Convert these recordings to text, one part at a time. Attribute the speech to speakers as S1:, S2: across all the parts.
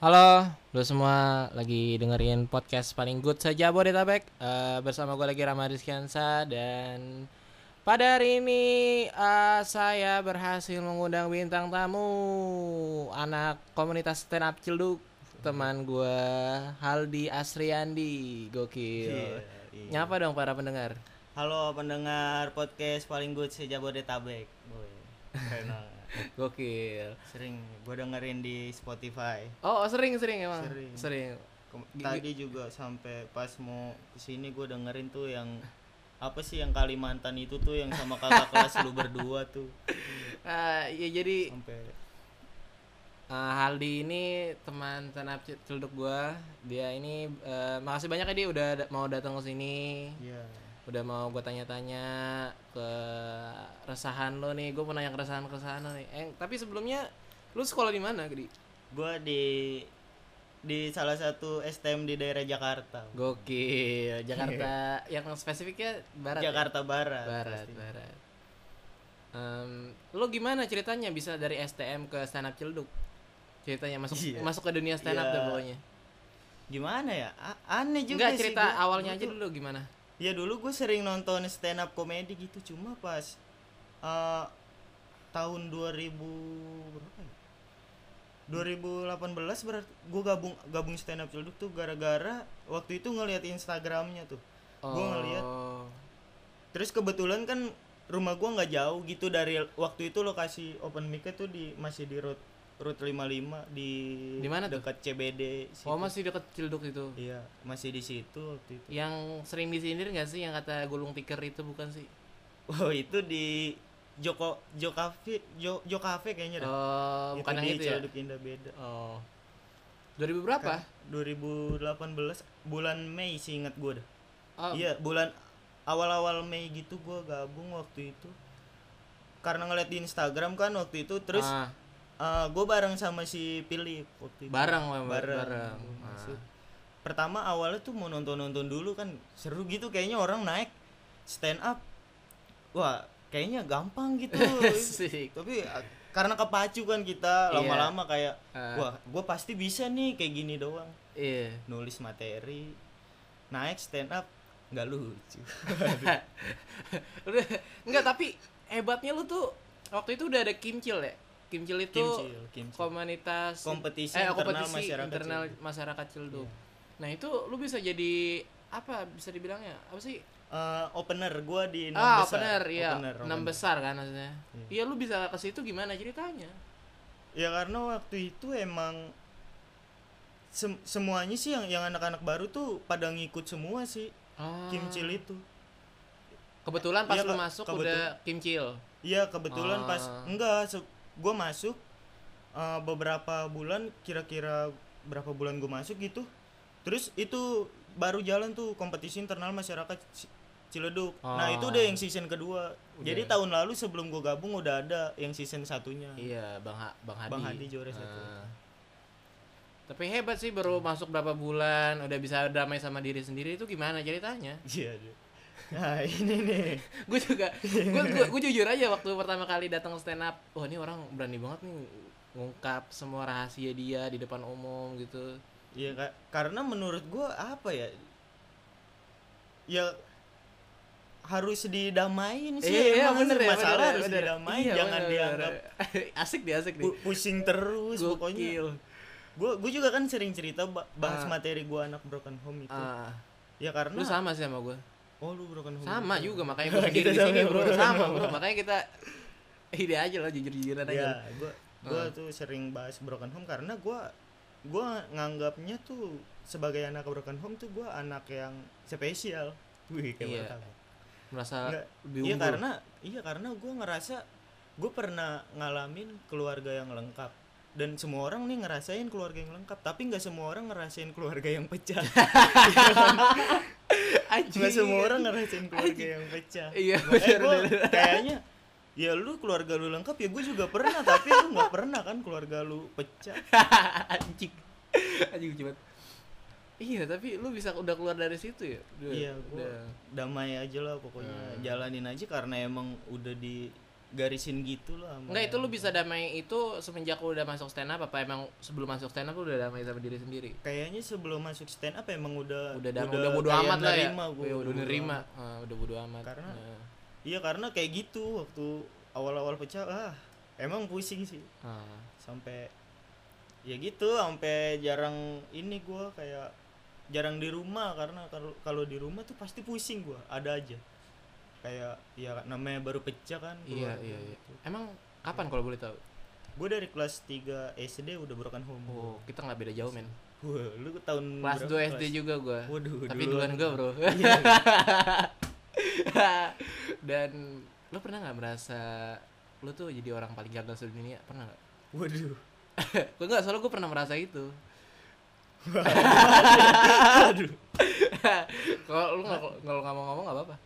S1: Halo, lo semua lagi dengerin podcast paling good saja Bodetabek Eh, Bersama gue lagi Rama Rizkiansa Dan pada hari ini eh, saya berhasil mengundang bintang tamu Anak komunitas stand up Cilduk Teman gue Haldi Asriandi Gokil
S2: Iya.
S1: Nyapa dong para pendengar
S2: Halo pendengar podcast paling good sejabodetabek. Boy. Keren banget.
S1: Gokil
S2: Sering gue dengerin di Spotify.
S1: Oh sering-sering emang
S2: Sering.
S1: Sering
S2: Kem- Tadi juga sampai pas mau kesini gue dengerin tuh yang apa sih yang Kalimantan itu tuh yang sama kakak kelas lu berdua tuh
S1: Eh, Ya jadi
S2: sampai
S1: Eh, Haldi ini teman stand up celduk gua. Dia ini eh, makasih banyak ya dia udah da- mau datang ke sini.
S2: ya
S1: Udah mau gua tanya-tanya ke resahan lo nih. Gue mau nanya keresahan-keresahan lo nih. Eh, tapi sebelumnya lu sekolah di mana, Gede?
S2: gue di di salah satu STM di daerah Jakarta
S1: Gokil. Jakarta yang spesifiknya barat. ya?
S2: Jakarta Barat,
S1: Barat,
S2: pasti.
S1: barat. Em, lo gimana ceritanya bisa dari STM ke stand up celduk? Ceritanya masuk
S2: Iya.
S1: masuk ke dunia stand up
S2: Iya.
S1: tuh pokoknya.
S2: gimana ya A- aneh juga
S1: Enggak
S2: sih
S1: cerita
S2: gua.
S1: awalnya
S2: Gua
S1: aja
S2: tuh-
S1: dulu gimana?
S2: Ya dulu gue sering nonton stand up komedi gitu cuma pas eh, tahun 2000 berapa ya? 2018 berarti gue gabung gabung stand up celduk tuh gara-gara waktu itu ngelihat Instagramnya tuh. Gue ngeliat
S1: Oh.
S2: terus kebetulan kan rumah gua nggak jauh gitu dari waktu itu lokasi open mic tuh di masih di road route 55 di
S1: Di mana tuh?
S2: dekat CBD
S1: Oh
S2: situ.
S1: masih deket Cilduk itu.
S2: Iya, masih di situ waktu itu.
S1: Yang sering disindir nggak sih yang kata gulung tikar itu bukan sih?
S2: Wow Oh, itu di Joko Jokafe Jo Jokafe kayaknya dah.
S1: Oh, bukan yang
S2: di
S1: itu ya.
S2: Ciledug Indah beda.
S1: Oh. 2000 berapa?
S2: 2018 bulan Mei sih ingat gue dah.
S1: Oh,
S2: Iya bulan awal-awal Mei gitu gua gabung waktu itu karena ngeliat di Instagram kan waktu itu terus
S1: ah,
S2: gue bareng sama si Philip waktu itu.
S1: bareng memang, bareng. Ah.
S2: bareng. Gua masuk. Pertama awalnya tuh mau nonton-nonton dulu kan seru gitu kayaknya orang naik stand up. Wah, kayaknya gampang gitu.
S1: Asik.
S2: Tapi ah, karena kepacu kan kita
S1: Iya.
S2: lama-lama kayak
S1: Ah.
S2: wah, gue pasti bisa nih kayak gini doang.
S1: Iya.
S2: Nulis materi, naik stand up nggak lucu.
S1: Udah, enggak tapi hebatnya lu tuh waktu itu udah ada Kimcil ya. Kimcil itu
S2: Kimcil, Kimcil.
S1: komunitas
S2: Kompetisi
S1: eh,
S2: internal
S1: kompetisi
S2: masyarakat
S1: internal
S2: Cilduk. Iya.
S1: masyarakat Cilduk. Nah, itu lu bisa jadi apa bisa dibilangnya? Apa sih?
S2: Eh, opener gue di enam
S1: ah,
S2: besar.
S1: opener, iya.
S2: Opener,
S1: enam
S2: opener.
S1: besar kan maksudnya. Iya, lu bisa ke situ gimana ceritanya?
S2: Ya karena waktu itu emang sem- semuanya sih yang yang anak-anak baru tuh pada ngikut semua sih
S1: Ah.
S2: Kimcil itu.
S1: Kebetulan pas
S2: Iya,
S1: lu
S2: ke-
S1: masuk
S2: kebetul-
S1: udah kimcil.
S2: Iya kebetulan pas
S1: Ah.
S2: enggak gue masuk eh, beberapa bulan kira-kira berapa bulan gue masuk gitu. Terus itu baru jalan tuh kompetisi internal masyarakat C- Ciledug. Nah itu
S1: Ah. ya?
S2: udah yang season kedua. Jadi tahun lalu sebelum gue gabung udah ada yang season satunya.
S1: Iya, Bang Ha- Bang Hadi.
S2: Ah. Bang Hadi Jores
S1: Ah.
S2: itu.
S1: Tapi hebat sih baru masuk berapa bulan udah bisa damai sama diri sendiri itu gimana ceritanya?
S2: Iya. dia. Nah ini nih.
S1: gue juga gue gue gue jujur aja waktu pertama kali datang stand up wah ini orang berani banget nih ngungkap semua rahasia dia di depan umum gitu
S2: Iya Kak. karena menurut gua apa ya? Ya harus
S1: Iya,
S2: didamain sih. emang
S1: ya,
S2: sih. Iya, masalah harus didamain, jangan dianggap
S1: asik dia asik nih
S2: pu- pusing terus pokoknya.
S1: Gokil.
S2: Gua gua juga kan sering cerita ba- bahas
S1: Ah.
S2: materi gua anak broken home itu.
S1: Ah,
S2: Ya karena
S1: lu sama sih sama gue
S2: oh lu broken home.
S1: sama juga makanya gue
S2: Kita
S1: sendiri di
S2: sama,
S1: sini bro
S2: bro. Iya.
S1: sama bro makanya kita ide aja lah jujur jujuran aja
S2: Ya, gua
S1: Ah.
S2: gua tuh sering bahas broken home karena gua gua nganggapnya tuh sebagai anak broken home tuh gua anak yang spesial. Wih,
S1: Iya.
S2: kayak yeah.
S1: merasa
S2: Nggak,
S1: lebih
S2: iya
S1: unggul.
S2: karena iya karena gue ngerasa gue pernah ngalamin keluarga yang lengkap dan semua orang nih ngerasain keluarga yang lengkap tapi nggak semua orang ngerasain keluarga yang pecah
S1: Anjing.
S2: nggak semua orang ngerasain keluarga yang pecah
S1: Iya,
S2: Makanya
S1: benar,
S2: gua
S1: benar.
S2: kayaknya ya lu keluarga lu lengkap ya gue juga pernah tapi lu nggak pernah kan keluarga lu pecah
S1: anjing anjing lucu banget iya tapi lu bisa udah keluar dari situ ya Udah-
S2: iya gue
S1: udah. Hmm.
S2: damai aja lah pokoknya jalanin aja karena emang udah di garisin gitu lah sama
S1: Enggak itu
S2: yang-
S1: lu bisa damai itu semenjak lu udah masuk stand up apa emang sebelum masuk stand up lu udah damai sama diri sendiri?
S2: kayaknya sebelum masuk stand up emang udah
S1: Udah damai, udah, bodo
S2: kayak
S1: amat lah ya.
S2: nerima gua,
S1: Iya, udah
S2: bodo
S1: nerima.
S2: amat.
S1: Eh, udah bodo amat.
S2: Karena-
S1: Nah.
S2: iya karena kayak gitu waktu awal-awal pecah ah emang pusing sih
S1: Ah.
S2: sampai ya gitu sampai jarang ini gua kayak jarang di rumah karena kalau kalau di rumah tuh pasti pusing gua ada aja kayak ya namanya baru pecah kan
S1: Iya, iya, iya. Emang kapan kalau boleh tahu?
S2: gue dari kelas 3 SD udah broken home
S1: Oh, kita nggak beda jauh, men.
S2: Wah, lu tahun
S1: Kelas
S2: berapa?
S1: 2 SD
S2: Hmm, Kelas-
S1: juga gua.
S2: Waduh,
S1: Tapi
S2: duluan.
S1: duluan gua, Bro.
S2: Iya.
S1: Dan lu pernah nggak merasa lu tuh jadi orang paling gagal sedunia? Pernah nggak?
S2: Waduh.
S1: gue nggak, soalnya gue pernah merasa itu. Kalau lu nggak kalau nggak mau ngomong nggak apa-apa.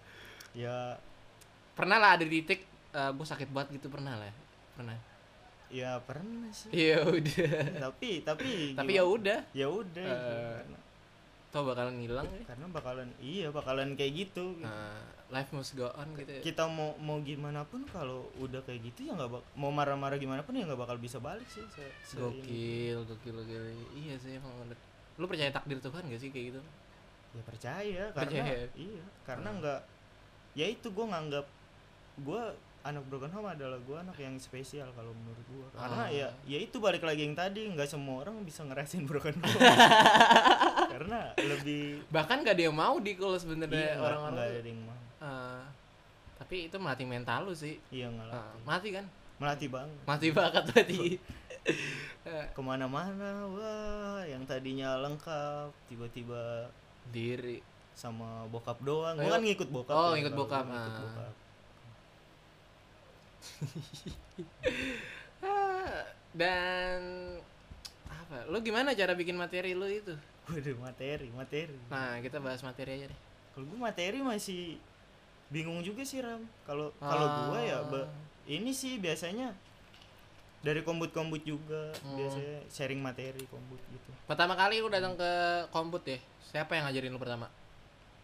S2: Ya,
S1: Pernah lah ada di titik gue sakit banget gitu pernah lah. Pernah.
S2: ya pernah sih.
S1: Ya udah.
S2: tapi tapi
S1: Tapi
S2: gimana?
S1: ya udah.
S2: ya udah
S1: Eh,
S2: gimana?
S1: Tau bakalan ngilang. ya.
S2: karena bakalan iya bakalan kayak gitu
S1: Nah, life must go on gitu.
S2: kita mau mau gimana pun kalau udah kayak gitu ya nggak bak- mau marah-marah gimana pun ya nggak bakal bisa balik sih se se- ini.
S1: Gokil, gokil, gokil. Iya sih emang bener. Lu percaya takdir Tuhan gak sih kayak gitu?
S2: ya percaya karena
S1: Percaya.
S2: iya karena nggak ya itu gue nganggap gue anak broken home adalah gue anak yang spesial kalau menurut gue karena
S1: Ah.
S2: ya ya itu balik lagi yang tadi nggak semua orang bisa ngerasain broken home karena lebih
S1: Bahkan gak ada yang mau di kalau
S2: iya
S1: sebenarnya
S2: nggak- nggak
S1: orang-orang. tuh,
S2: ada yang mau
S1: eh, tapi itu melatih mental lu sih.
S2: iya
S1: Eh,
S2: nggak latih.
S1: mati kan?
S2: melatih banget
S1: Mati bakat tadi.
S2: kemana-mana wah yang tadinya lengkap tiba-tiba
S1: Diri.
S2: sama bokap doang
S1: Oh,
S2: gue kan ngikut bokap
S1: oh,
S2: ya,
S1: ngikut
S2: kalau gua
S1: bokap,
S2: ngikut
S1: ah.
S2: bokap.
S1: Ah, Dan apa? Lu gimana cara bikin materi lu itu?
S2: waduh materi materi
S1: Nah, kita bahas materi aja deh.
S2: kalau gue materi masih bingung juga sih ram kalau kalau
S1: Ah.
S2: gue ya ba- ini sih biasanya dari kombut-kombut juga
S1: Hmm.
S2: biasanya sharing materi kombut gitu
S1: Pertama kali lu datang ke Komput ya. Siapa yang ngajarin lu pertama?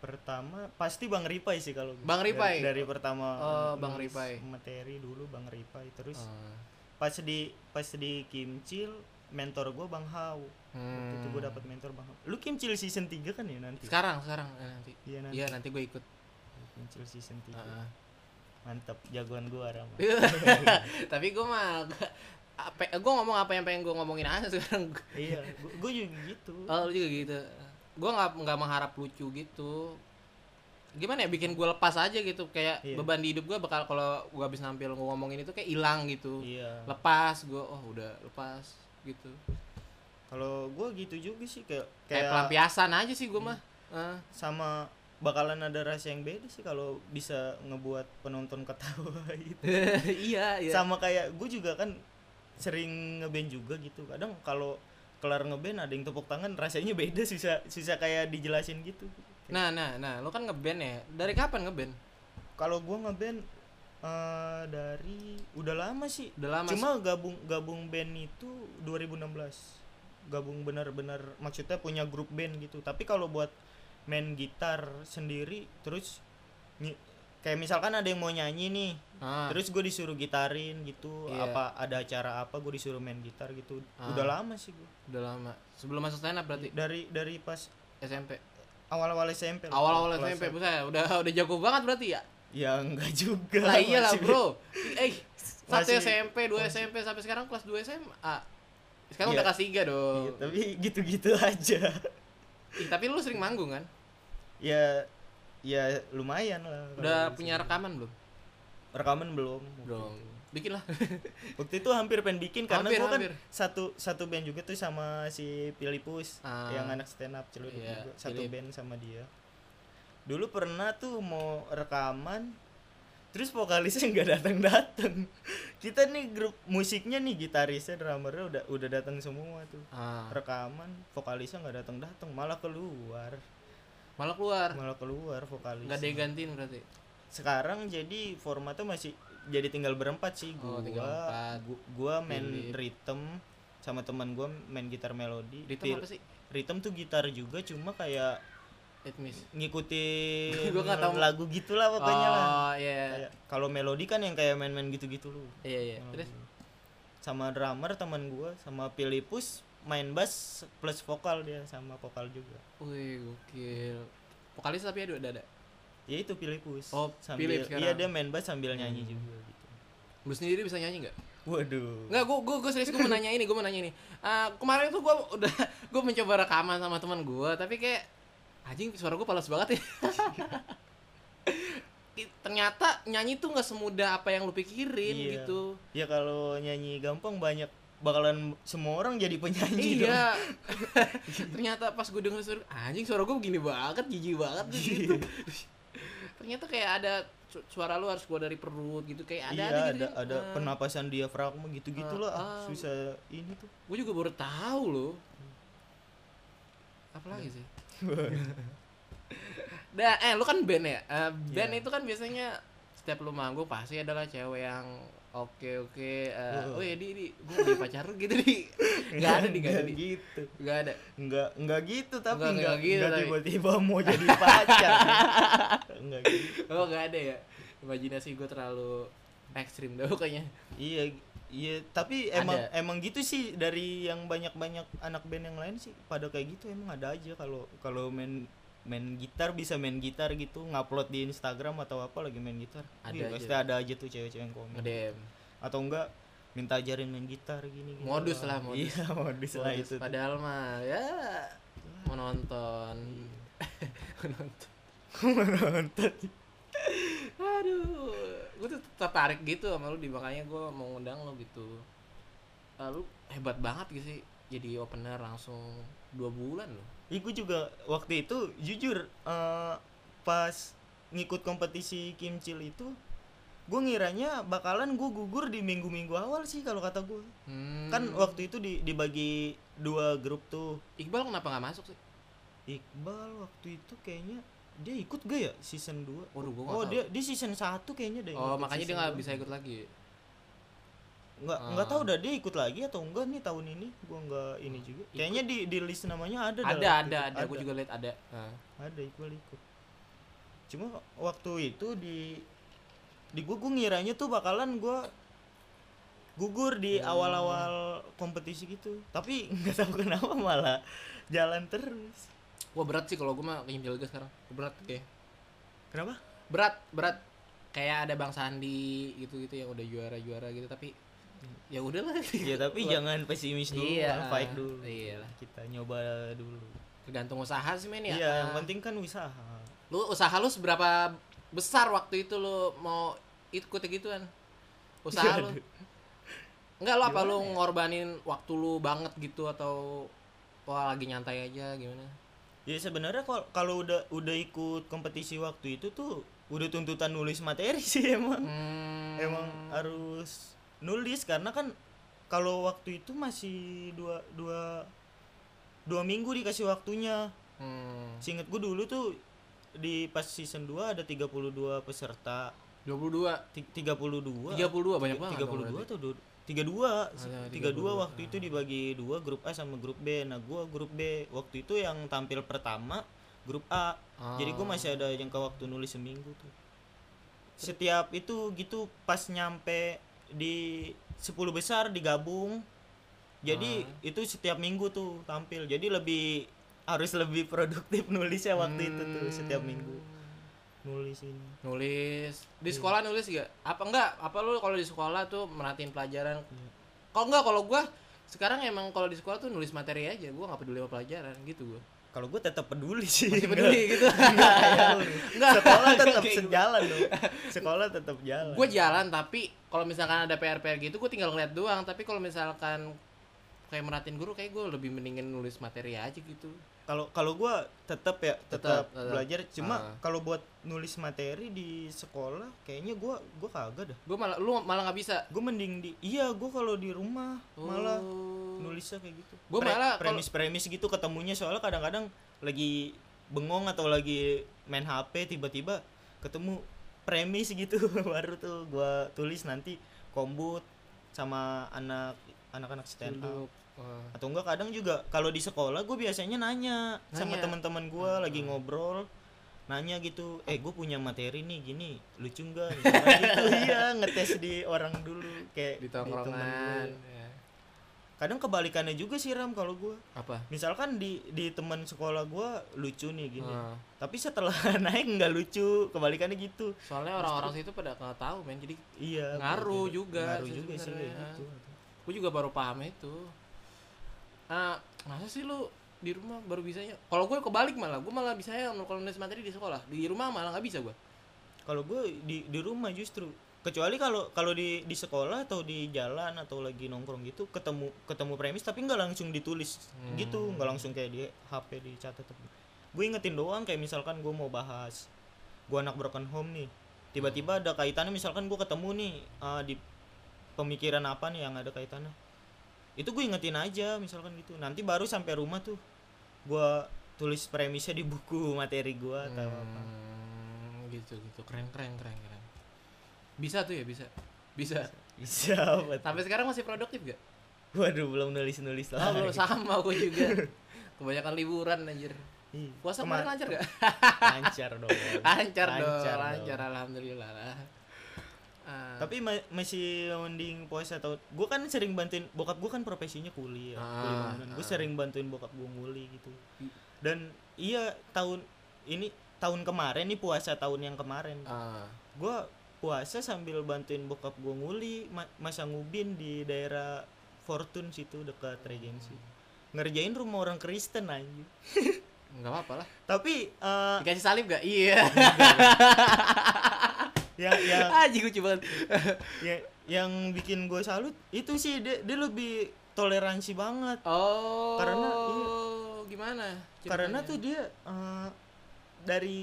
S2: pertama pasti bang Ripai sih kalau gua.
S1: Bang
S2: Dari-
S1: Ripai?
S2: dari, pertama
S1: Oh, Bang
S2: nulis
S1: Ripai.
S2: materi dulu bang Ripai terus
S1: Eh,
S2: pas di pas di Kimcil mentor gue bang Hau waktu itu gue
S1: hmm.
S2: dapat mentor bang Hau lu Kimcil season 3 kan ya nanti
S1: Sekarang, sekarang eh, nanti.
S2: iya nanti
S1: Iya, Ah. nanti gue ikut.
S2: Kimcil season 3
S1: Heeh.
S2: mantap jagoan gue Rama
S1: Iya. Tapi gue mah gak- apa gue ngomong apa yang pengen gue ngomongin aja sekarang.
S2: iya gue juga gitu
S1: Oh, lu juga gitu. Gue nggak nggak mengharap lucu gitu. Gimana ya bikin gue lepas aja gitu kayak
S2: Iya.
S1: beban di hidup gue bakal kalau gue habis nampil gue ngomongin itu kayak hilang gitu.
S2: iya
S1: Lepas gue, oh udah lepas gitu.
S2: kalau gue gitu juga sih kayak
S1: Kayak,
S2: kayak Hmm.
S1: pelampiasan aja sih gue mah. Eh,
S2: sama bakalan ada rasa yang beda sih kalau bisa ngebuat penonton ketawa gitu
S1: iya, iya.
S2: sama kayak gue juga kan sering ngeband juga gitu kadang kalau kelar ngeband ada yang tepuk tangan rasanya beda sisa sisa kayak dijelasin gitu
S1: Nah, nah, nah, lo kan ngeband ya. Dari kapan ngeband?
S2: kalau gua ngeband eh dari udah lama sih
S1: Udah lama.
S2: cuma gabung gabung band itu 2016 gabung benar-benar maksudnya punya grup band gitu tapi kalau buat main gitar sendiri terus nyi- kayak misalkan ada yang mau nyanyi nih
S1: Ah.
S2: terus gue disuruh gitarin gitu
S1: Iya.
S2: apa ada acara apa gue disuruh main gitar gitu
S1: Ah.
S2: udah lama sih gue
S1: Udah lama. Sebelum masuk stand up berarti
S2: dari dari pas
S1: SMP.
S2: awal-awal SMP lah.
S1: Awal-awal
S2: Iya. Kelas
S1: SMP buset, udah udah jago banget berarti ya.
S2: ya enggak juga
S1: Lah iyalah,
S2: masih-
S1: Bro. Eh, satu
S2: Masih-
S1: SMP, dua SMP sampai sekarang kelas 2 SMA. Sekarang
S2: Iya.
S1: udah kelas 3 dong.
S2: Iya, tapi gitu-gitu aja
S1: Ih, tapi lu sering manggung kan?
S2: Iya, ya ya lumayan lah kalau gitu.
S1: Udah
S2: dari
S1: punya
S2: segi-
S1: rekaman belum?
S2: rekaman belum
S1: Belum. Bikin lah.
S2: waktu itu hampir pengen bikin karena
S1: Hampir,
S2: gua kan
S1: hampir.
S2: satu satu band juga tuh sama si Pilipus
S1: Ah.
S2: yang anak stand up celuduk
S1: Iya,
S2: juga satu
S1: Philip.
S2: band sama dia dulu pernah tuh mau rekaman terus vokalisnya nggak datang datang kita nih grup musiknya nih gitarisnya drummernya udah udah datang semua tuh
S1: Ah,
S2: rekaman vokalisnya nggak datang datang malah keluar
S1: malah keluar.
S2: malah keluar vokalis
S1: Enggak ada yang gantiin berarti.
S2: sekarang jadi formatnya masih jadi tinggal berempat sih gua
S1: Oh, tinggal empat.
S2: gu- gua main
S1: Philip.
S2: rhythm sama teman gua main gitar melodi
S1: Ritme
S2: Phil-
S1: apa sih?
S2: rhythm tuh gitar juga cuma kayak
S1: Etmis.
S2: ngikutin
S1: Gua nggak tahu.
S2: lagu gitulah pokoknya lah
S1: Oh, iya.
S2: Kayak- Kalau melodi kan yang kayak main-main gitu-gitu lu.
S1: Iya iya. Terus
S2: Sama drummer teman gua, sama Filipus main bass plus vokal dia sama vokal juga.
S1: wih gokil. Vokalis tapi ada ada. ada.
S2: Ya itu Filipus.
S1: Oh,
S2: sambil
S1: Philip sekarang. Hmm.
S2: iya dia main bass sambil nyanyi juga gitu.
S1: Lu sendiri bisa nyanyi nggak?
S2: Waduh.
S1: Nggak, gue gue serius gue mau nanya ini, gue mau nanya ini. Ah, kemarin tuh gue udah gue mencoba rekaman sama teman gue, tapi kayak anjing suara gue palas banget ya. I- Ternyata nyanyi tuh nggak semudah apa yang lu pikirin
S2: Iya.
S1: gitu.
S2: Ya kalau nyanyi gampang banyak bakalan semua orang jadi penyanyi dong.
S1: Iya. Ternyata pas gue denger suara anjing suara gue begini banget, jijik banget
S2: Iya.
S1: gitu. Ternyata kayak ada su- suara lu harus keluar dari perut gitu kayak ada
S2: iya,
S1: ada
S2: ada
S1: gitu.
S2: ada, penapasan diafragma gitu-gitu lah. Ah,
S1: ah.
S2: susah ini tuh.
S1: Gue juga baru tahu loh. Apa
S2: Iya.
S1: lagi sih? Dan eh lu kan band ya? Eh, band
S2: Iya.
S1: itu kan biasanya setiap lu manggung pasti adalah cewek yang oke oke eh,
S2: Oh.
S1: oh ya di di gue punya pacar lu gitu di nggak ada di nggak ada di
S2: gitu.
S1: nggak ada
S2: Enggak, enggak gitu tapi
S1: Nggak-
S2: enggak,
S1: nggak gitu, tapi.
S2: tiba-tiba mau jadi pacar. enggak gitu.
S1: oh nggak ada ya imajinasi gue terlalu ekstrim dah pokoknya
S2: Iya, iya, tapi
S1: Ada.
S2: emang emang gitu sih dari yang banyak-banyak anak band yang lain sih pada kayak gitu emang ada aja kalau kalau main main gitar bisa main gitar gitu ngupload di Instagram atau apa lagi main gitar
S1: Ada
S2: Iya,
S1: aja.
S2: pasti ada aja tuh cewek-cewek yang komen
S1: ngedem
S2: atau enggak minta ajarin main gitar gini, gini
S1: Modus lah, modus.
S2: iya modus, lah itu tuh.
S1: padahal mah ya mau nonton
S2: Iya.
S1: Mau nonton aduh gue tuh tertarik gitu sama lu di makanya gue mau ngundang lu gitu lalu hebat banget gitu sih jadi opener langsung dua bulan loh
S2: Ih, gua juga waktu itu jujur eh, pas ngikut kompetisi kimcil itu gue ngiranya bakalan gue gugur di minggu-minggu awal sih kalau kata gue
S1: hmm.
S2: kan waktu itu di- dibagi dua grup tuh
S1: Iqbal kenapa nggak masuk sih
S2: Iqbal waktu itu kayaknya dia ikut gak ya season 2
S1: Waduh, gua nggak
S2: oh
S1: tahu.
S2: dia dia season 1 kayaknya deh
S1: oh makanya dia nggak bisa ikut lagi
S2: nggak
S1: Ah.
S2: nggak tahu dah dia ikut lagi atau enggak nih tahun ini gua nggak ini juga kayaknya di di list namanya ada dah
S1: ada
S2: waktu
S1: ada
S2: itu.
S1: ada, gue juga lihat ada Nah.
S2: ada Iqbal ikut cuma waktu itu di di gua gua ngiranya tuh bakalan gua gugur di
S1: Hmm.
S2: awal-awal kompetisi gitu tapi nggak tahu kenapa malah jalan terus
S1: Wah berat sih kalau gue mah keinjil gas sekarang. Berat kayak.
S2: kenapa
S1: Berat, berat. Kayak ada Bang Sandi gitu-gitu yang udah juara-juara gitu tapi ya udahlah.
S2: ya tapi jangan pesimis dulu
S1: Iya.
S2: lah, fight dulu
S1: Iya lah.
S2: kita nyoba dulu
S1: Tergantung usaha sih men ya.
S2: iya yang
S1: Ah,
S2: penting kan usaha
S1: Lu usaha lu seberapa besar waktu itu lu mau ikut gituan? Usaha lu. Enggak lu apa lu
S2: ya?
S1: ngorbanin waktu lu banget gitu atau wah lagi nyantai aja gimana?
S2: ya sebenarnya kal- kalau udah udah ikut kompetisi waktu itu tuh udah tuntutan nulis materi sih emang
S1: Hmm.
S2: emang harus nulis karena kan kalau waktu itu masih dua dua dua minggu dikasih waktunya
S1: Hmm.
S2: seinget gue dulu tuh di pas season 2 ada 32 peserta
S1: 22
S2: Ti-
S1: 32
S2: 32
S1: banyak banget. dong
S2: 32
S1: berarti.
S2: atau du- 32 sih.
S1: Ada 32,
S2: 32 waktu itu dibagi dua grup A sama grup B nah gua grup B waktu itu yang tampil pertama grup
S1: Ah,
S2: A jadi gua masih ada jangka waktu nulis seminggu tuh setiap itu gitu pas nyampe di 10 besar digabung jadi itu setiap minggu tuh tampil jadi lebih harus lebih produktif nulisnya waktu itu tuh setiap minggu nulis ini
S1: nulis
S2: Iya.
S1: di sekolah nulis gak apa enggak apa lu kalau di sekolah tuh merhatiin pelajaran
S2: Iya.
S1: kalau enggak kalau gua sekarang emang kalau di sekolah tuh nulis materi aja gua nggak peduli sama pelajaran gitu gua
S2: kalau gue tetap peduli sih
S1: masih
S2: enggak-
S1: peduli gitu
S2: enggak kayak lu.
S1: Enggak.
S2: sekolah tetap
S1: Kayak
S2: sejalan dong sekolah tetap jalan
S1: gua jalan tapi kalau misalkan ada PR PR gitu gua tinggal ngeliat doang tapi kalau misalkan kayak merhatiin guru kayak gua lebih mendingin nulis materi aja gitu
S2: kalau kalau gue tetap ya
S1: Tetap,
S2: tetap
S1: tetap.
S2: belajar cuma
S1: Ah.
S2: kalau buat nulis materi di sekolah kayaknya gue gue kagak dah
S1: gua malah lu malah nggak bisa
S2: gue mending di iya gue kalau di rumah malah
S1: Oh.
S2: nulisnya kayak gitu
S1: Gua malah kalau-
S2: premis-premis gitu ketemunya soalnya kadang-kadang lagi bengong atau lagi main HP tiba-tiba ketemu premis gitu baru tuh gua tulis nanti kombut sama anak anak-anak stand up
S1: Duduk. Wah.
S2: atau enggak kadang juga kalau di sekolah gue biasanya nanya, Hmm. sama
S1: Nanya.
S2: teman-teman gua lagi ngobrol nanya gitu eh gue punya materi nih gini lucu nggak Misalnya gitu iya ngetes di orang dulu kayak
S1: di
S2: temen dulu.
S1: tongkrongan ya.
S2: kadang kebalikannya juga sih ram kalau gue
S1: apa
S2: misalkan di di teman sekolah gue lucu nih gini
S1: Eh,
S2: tapi setelah naik nggak lucu kebalikannya gitu
S1: soalnya orang-orang situ pada nggak tahu men jadi
S2: iya
S1: Ngaruh
S2: berbeda.
S1: juga
S2: ngaruh
S1: sih
S2: juga sih kayak
S1: sebenarnya.
S2: gitu
S1: gue juga baru paham itu ah masa sih lu di rumah baru bisanya kalau gue kebalik malah gue malah bisanya kalau nulis materi di sekolah di rumah malah nggak bisa gue
S2: kalau gue di di rumah justru kecuali kalau kalau di di sekolah atau di jalan atau lagi nongkrong gitu ketemu ketemu premis tapi nggak langsung ditulis gitu nggak langsung kayak di HP dicatat gue ingetin doang kayak misalkan gue mau bahas gue anak broken home nih tiba-tiba ada kaitannya misalkan gue ketemu nih eh, di pemikiran apa nih yang ada kaitannya itu gue ingetin aja misalkan gitu nanti baru sampai rumah tuh gue tulis premisnya di buku materi gue atau apa
S1: Hmm, gitu gitu keren keren keren keren bisa tuh ya bisa bisa
S2: bisa apa tuh?
S1: sampai sekarang masih produktif gak
S2: Waduh belum nulis-nulis
S1: Ah,
S2: lah.
S1: belum sama gue juga kebanyakan liburan anjir puasa Ah. kemarin lancar gak
S2: lancar dong.
S1: lancar,
S2: Lancar
S1: dong
S2: dong.
S1: lancar alhamdulillah lah Ah,
S2: Tapi ma- masih mending puasa atau gue kan sering bantuin bokap gue kan profesinya kuli ya.
S1: Ah,
S2: gue sering bantuin bokap gue nguli gitu. Dan iya tahun ini tahun kemarin nih puasa tahun yang kemarin.
S1: ah.
S2: Gue puasa sambil bantuin bokap gue nguli ma- masang ubin di daerah Fortune situ dekat Regency.
S1: Hmm.
S2: Ngerjain rumah orang Kristen aja.
S1: nggak apa-apa lah
S2: Tapi eh,
S1: dikasih salib gak iya
S2: yang yang
S1: aji gue coba
S2: ya, yang bikin gue salut itu sih dia, dia lebih toleransi banget
S1: oh
S2: Karena, iya.
S1: gimana
S2: karena
S1: ceritanya?
S2: tuh dia eh, dari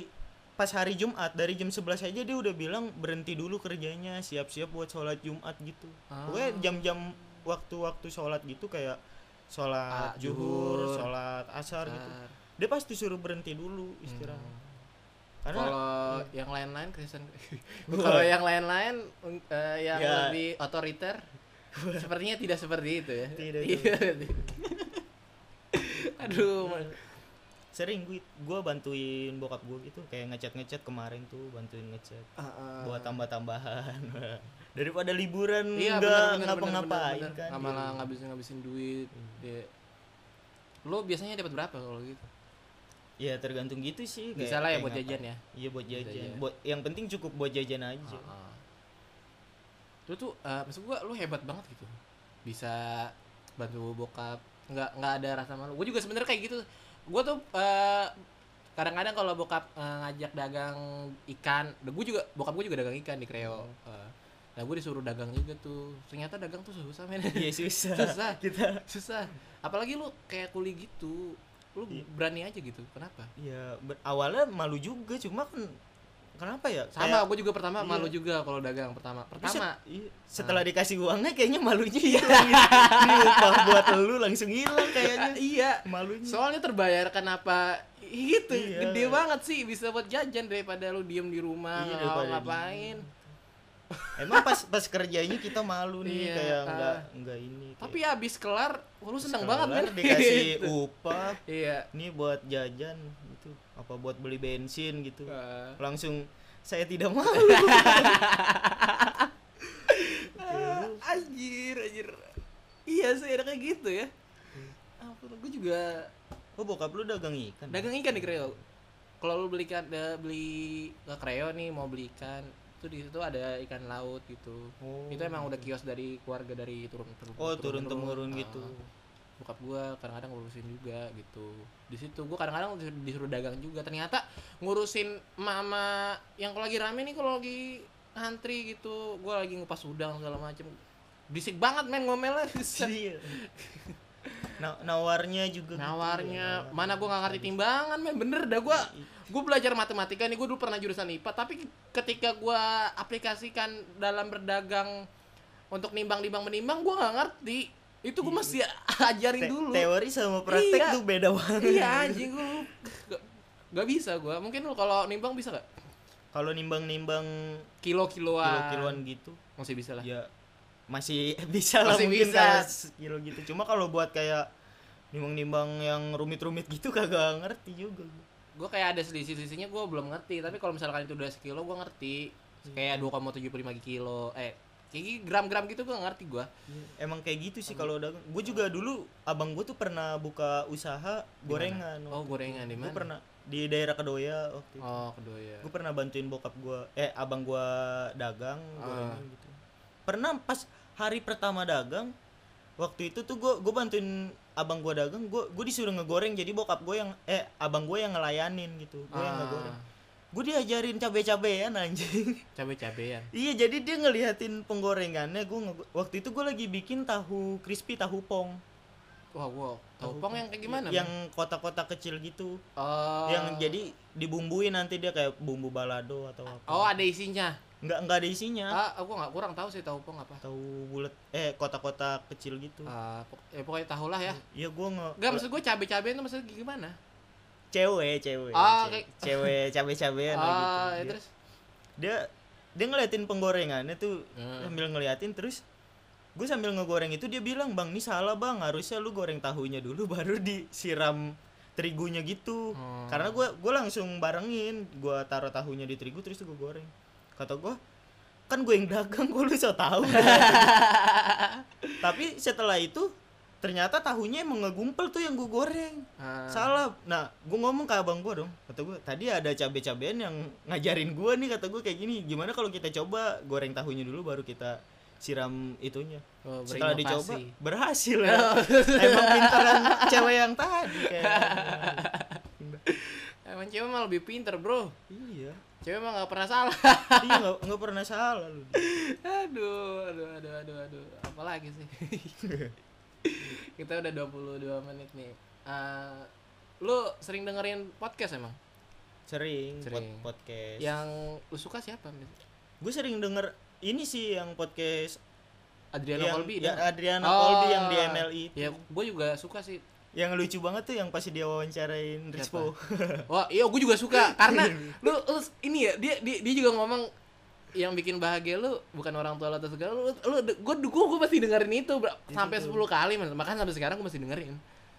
S2: pas hari Jumat dari jam 11 aja dia udah bilang berhenti dulu kerjanya siap-siap buat sholat Jumat gitu
S1: Ah.
S2: pokoknya jam-jam waktu-waktu sholat gitu kayak
S1: Ah,
S2: sholat zuhur
S1: zuhur. Ah.
S2: sholat asar gitu
S1: Bentar.
S2: dia pasti suruh berhenti dulu istirahat
S1: Hmm.
S2: karena iya.
S1: kalau yang lain-lain Kristen kalau yang lain-lain eh, yang
S2: Ya.
S1: lebih otoriter sepertinya tidak seperti itu ya
S2: Tidak,
S1: Iya. aduh Mas.
S2: Hmm. sering gue gue bantuin bokap gue gitu kayak ngecat ngecat kemarin tuh bantuin ngecat
S1: Ah, ah.
S2: buat tambah-tambahan daripada liburan
S1: iya
S2: nggak
S1: benar
S2: ngapa-ngapain
S1: benar
S2: kan
S1: nggak
S2: Hmm.
S1: malah ngabisin ngabisin duit Dia- lo biasanya dapat berapa kalau gitu
S2: ya tergantung gitu sih kayak-
S1: bisa lah ya
S2: kayak
S1: buat
S2: ngapain.
S1: jajan ya
S2: iya buat jajan,
S1: jajan.
S2: Buat, yang penting cukup buat jajan aja
S1: Heeh. Lu tuh eh, maksud gua lu hebat banget gitu. Bisa bantu bokap, nggak nggak ada rasa malu. Gua juga sebenarnya kayak gitu. Gua tuh eh, kadang-kadang kalau bokap eh, ngajak dagang ikan, gue juga bokap gue juga dagang ikan di Kreo.
S2: Hmm.
S1: Eh, nah gue disuruh dagang juga tuh. Ternyata dagang tuh susah men.
S2: iya susah
S1: Ah. susah,
S2: kita
S1: susah. Apalagi lu kayak kuli gitu. Lu
S2: Iya.
S1: berani aja gitu. Kenapa?
S2: ya ber- awalnya malu juga cuma kan kenapa ya
S1: Sama,
S2: Kayak-
S1: gue juga pertama
S2: iya.
S1: malu juga kalau dagang pertama. Ah.
S2: Tapi set-
S1: Pertama,
S2: iya, setelah dikasih uangnya kayaknya malunya hilang gitu. Ini upah buat lu langsung
S1: Ah,
S2: hilang kayaknya
S1: iya.
S2: malunya
S1: Soalnya terbayarkan apa gitu
S2: Iya.
S1: gede banget sih bisa buat jajan daripada lu diem di rumah
S2: Iya,
S1: nggak
S2: daripada
S1: ngapain.
S2: emang pas pas kerjanya kita malu nih
S1: Iya,
S2: kayak
S1: ah.
S2: nggak nggak ini kayak-
S1: Tapi abis kelar, wah, lu seneng
S2: Sekolah
S1: banget kan?
S2: dikasih
S1: Gitu.
S2: upah
S1: Iya.
S2: nih buat jajan gitu apa buat beli bensin gitu
S1: Ah.
S2: langsung saya tidak mau
S1: Ah, anjir, anjir. Iya sih enaknya gitu ya.
S2: Hmm.
S1: Ampun, gue juga
S2: oh bokap lu dagang ikan
S1: dagang ikan di Kreo. Kalau lu beli ikan, da- beli ke Kreo nih mau beli ikan, tuh di situ ada ikan laut gitu.
S2: Oh.
S1: Itu emang udah kios dari keluarga dari turun turun.
S2: oh turun temurun
S1: Ah.
S2: gitu
S1: bokap gue kadang-kadang ngurusin juga gitu di situ gue kadang-kadang disuruh, disuruh dagang juga ternyata ngurusin mama yang kalau lagi rame nih kalau lagi antri gitu gue lagi ngupas udang segala macem berisik banget men ngomelnya
S2: Iya. Na- nawarnya juga gitu. Iya.
S1: nawarnya mana gue nggak ngerti timbangan men bener dah gue gue belajar matematika nih gue dulu pernah jurusan IPA tapi ketika gue aplikasikan dalam berdagang untuk nimbang-nimbang menimbang gue nggak ngerti itu gue masih ajarin
S2: Te-
S1: dulu
S2: teori sama praktek
S1: Iya.
S2: tuh beda banget
S1: iya anjing gue gak, gak bisa gue mungkin lu kalau nimbang bisa gak
S2: kalau nimbang-nimbang
S1: kilo kiloan
S2: kilo-kiloan gitu
S1: masih bisa lah
S2: ya masih bisa lah
S1: Masih
S2: mungkin
S1: bisa.
S2: kalau sekilo gitu cuma kalau buat kayak nimbang-nimbang yang rumit-rumit gitu kagak ngerti juga gua.
S1: gue kayak ada selisih-selisihnya gue belum ngerti tapi kalau misalkan itu udah sekilo gue ngerti
S2: Hmm.
S1: kayak 2,75 kilo eh kayak gini, gram-gram gitu gue ngerti gue
S2: Emang kayak gitu sih kalau dagang. Gue juga dulu abang gue tuh pernah buka usaha gorengan.
S1: oh gorengan di
S2: gue
S1: mana
S2: pernah di daerah Kedoya waktu itu.
S1: oh kedoya
S2: Gue pernah bantuin bokap gue, eh abang gue dagang
S1: Ah.
S2: gorengan gitu. Pernah pas hari pertama dagang, waktu itu tuh gue gue bantuin abang gue dagang, gue gue disuruh ngegoreng jadi bokap gue yang eh abang gue yang ngelayanin gitu, gue yang ngegoreng.
S1: ah,
S2: Gue diajarin cabe-cabean anjing.
S1: cabe-cabean
S2: Iya jadi dia ngeliatin penggorengannya gue waktu itu gue lagi bikin tahu crispy tahu pong
S1: wah gue tahu
S2: Tahu
S1: pong yang kayak gimana
S2: yang kotak-kotak kecil gitu
S1: Bang? oh
S2: yang jadi dibumbuin nanti dia kayak bumbu balado atau apa
S1: oh ada isinya
S2: nggak nggak ada isinya
S1: ah gue nggak kurang tahu sih tahu pong apa
S2: tahu bulat eh kotak-kotak kecil gitu
S1: Ah, pok- ya pokoknya tahu lah ya
S2: Iya gue nge
S1: Gak maksud gue cabe-cabean itu maksudnya gimana?
S2: cewek cewek
S1: Ah,
S2: cewek,
S1: kayak-
S2: cewek cabe-cabean lah gitu
S1: Ah, ya
S2: Dia-
S1: terus
S2: dia dia ngeliatin penggorengannya tuh
S1: Hmm.
S2: sambil ngeliatin terus gue sambil ngegoreng itu dia bilang bang ini salah bang harusnya lu goreng tahunya dulu baru disiram terigunya gitu
S1: Hmm.
S2: karena gue gue langsung barengin gue taruh tahunya di terigu terus gue goreng kata gue kan gue yang dagang gue lu so tahu tapi setelah itu ternyata tahunya emang ngegumpel tuh yang gue goreng
S1: Ah.
S2: salah nah gue ngomong ke abang gue dong kata gue tadi ada cabe cabean yang ngajarin gue nih kata gue kayak gini gimana kalau kita coba goreng tahunya dulu baru kita siram itunya
S1: Oh,
S2: setelah dicoba
S1: berinovasi.
S2: berhasil ya emang pintaran cewek yang tadi kayak
S1: Emang cewek mah lebih pinter bro
S2: iya
S1: Cewek mah gak pernah salah
S2: iya nggak nggak pernah salah lu
S1: Aduh, aduh, aduh, aduh, aduh Apalagi sih Kita udah 22 menit nih Eh, Lu sering dengerin podcast emang?
S2: sering, pod-
S1: Sering.
S2: podcast
S1: Yang lu suka siapa?
S2: gue sering denger ini sih yang podcast
S1: Adriano
S2: yang
S1: Colby
S2: ya,
S1: denger?
S2: Adriana
S1: Oh.
S2: Colby yang di MLI
S1: Ya, gue juga suka sih
S2: yang lucu banget tuh yang pasti dia wawancarain Rispo
S1: Wah, iya gue juga suka karena
S2: Iya.
S1: lu, lu ini ya dia, dia dia juga ngomong yang bikin bahagia lu bukan orang tua lu atau segala lu lu gue gue gue pasti dengerin itu bro.
S2: Iya,
S1: sampai 10 kali man. makanya sampai sekarang gue masih dengerin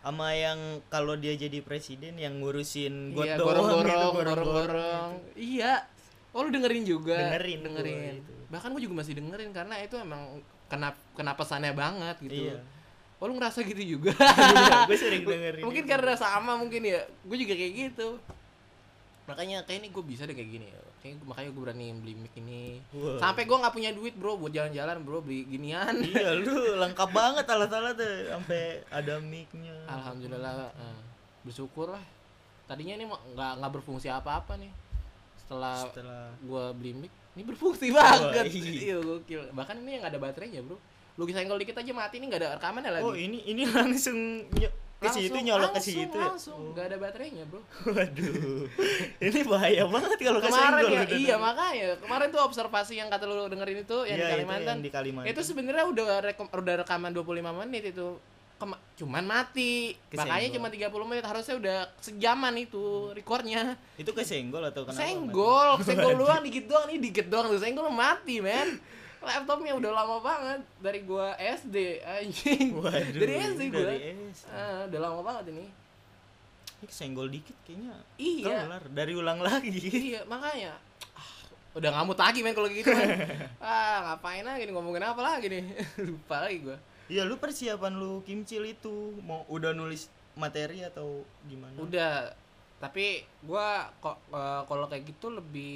S2: sama yang kalau dia jadi presiden yang ngurusin got
S1: iya
S2: doang
S1: gorong
S2: gitu,
S1: gorong
S2: got
S1: gorong
S2: doang.
S1: gorong iya oh lu dengerin juga
S2: Dengerin gitu. gua
S1: dengerin
S2: itu.
S1: bahkan gue juga masih dengerin karena itu emang kenapa kenapa pesannya banget gitu
S2: Iya.
S1: oh lu ngerasa gitu juga
S2: gue sering dengerin
S1: mungkin
S2: itu.
S1: karena sama mungkin ya gue juga kayak gitu makanya kayak ini gue bisa deh kayak gini kayak makanya gue berani beli mic ini
S2: Wah.
S1: sampai gue nggak punya duit bro buat jalan-jalan bro beli ginian
S2: iya lu lengkap banget alat-alat tuh sampai ada mic-nya
S1: alhamdulillah eh, bersyukur lah tadinya ini mah nggak nggak berfungsi apa-apa nih setelah,
S2: setelah
S1: gue beli mic ini berfungsi banget iya
S2: iya.
S1: gokil bahkan ini yang nggak ada baterainya bro lu senggol dikit aja mati ini nggak ada rekamannya lagi
S2: oh ini ini langsung ny- ke situ
S1: Langsung-
S2: nyolok ke
S1: langsung-
S2: situ ya?
S1: langsung nggak ada baterainya bro
S2: waduh ini bahaya banget kalau
S1: kemarin
S2: kesenggol
S1: ya
S2: udah.
S1: iya makanya kemarin tuh observasi yang kata lu dengerin itu yang di
S2: Iya, itu
S1: Kalimantan
S2: yang
S1: itu,
S2: di Kalimantan
S1: sebenarnya udah rekom, udah rekaman 25 menit itu Kema- cuman mati
S2: Kesenggol.
S1: makanya cuma 30 menit harusnya udah sejaman itu recordnya
S2: itu kesenggol atau kenapa
S1: senggol senggol doang dikit doang nih dikit doang tuh senggol mati men laptopnya udah lama banget dari gua SD anjing
S2: Waduh,
S1: dari SD gua
S2: dari SD.
S1: Ah, udah lama banget ini
S2: ini kesenggol dikit kayaknya
S1: Iya.
S2: kelar dari ulang lagi
S1: iya makanya Ah, udah ngamut lagi men kalau gitu men. ah ngapain lagi nih ngomongin apa lagi nih lupa lagi gua
S2: Iya lu persiapan lu kimcil itu mau udah nulis materi atau gimana?
S1: udah tapi gua kok eh, kalau kayak gitu lebih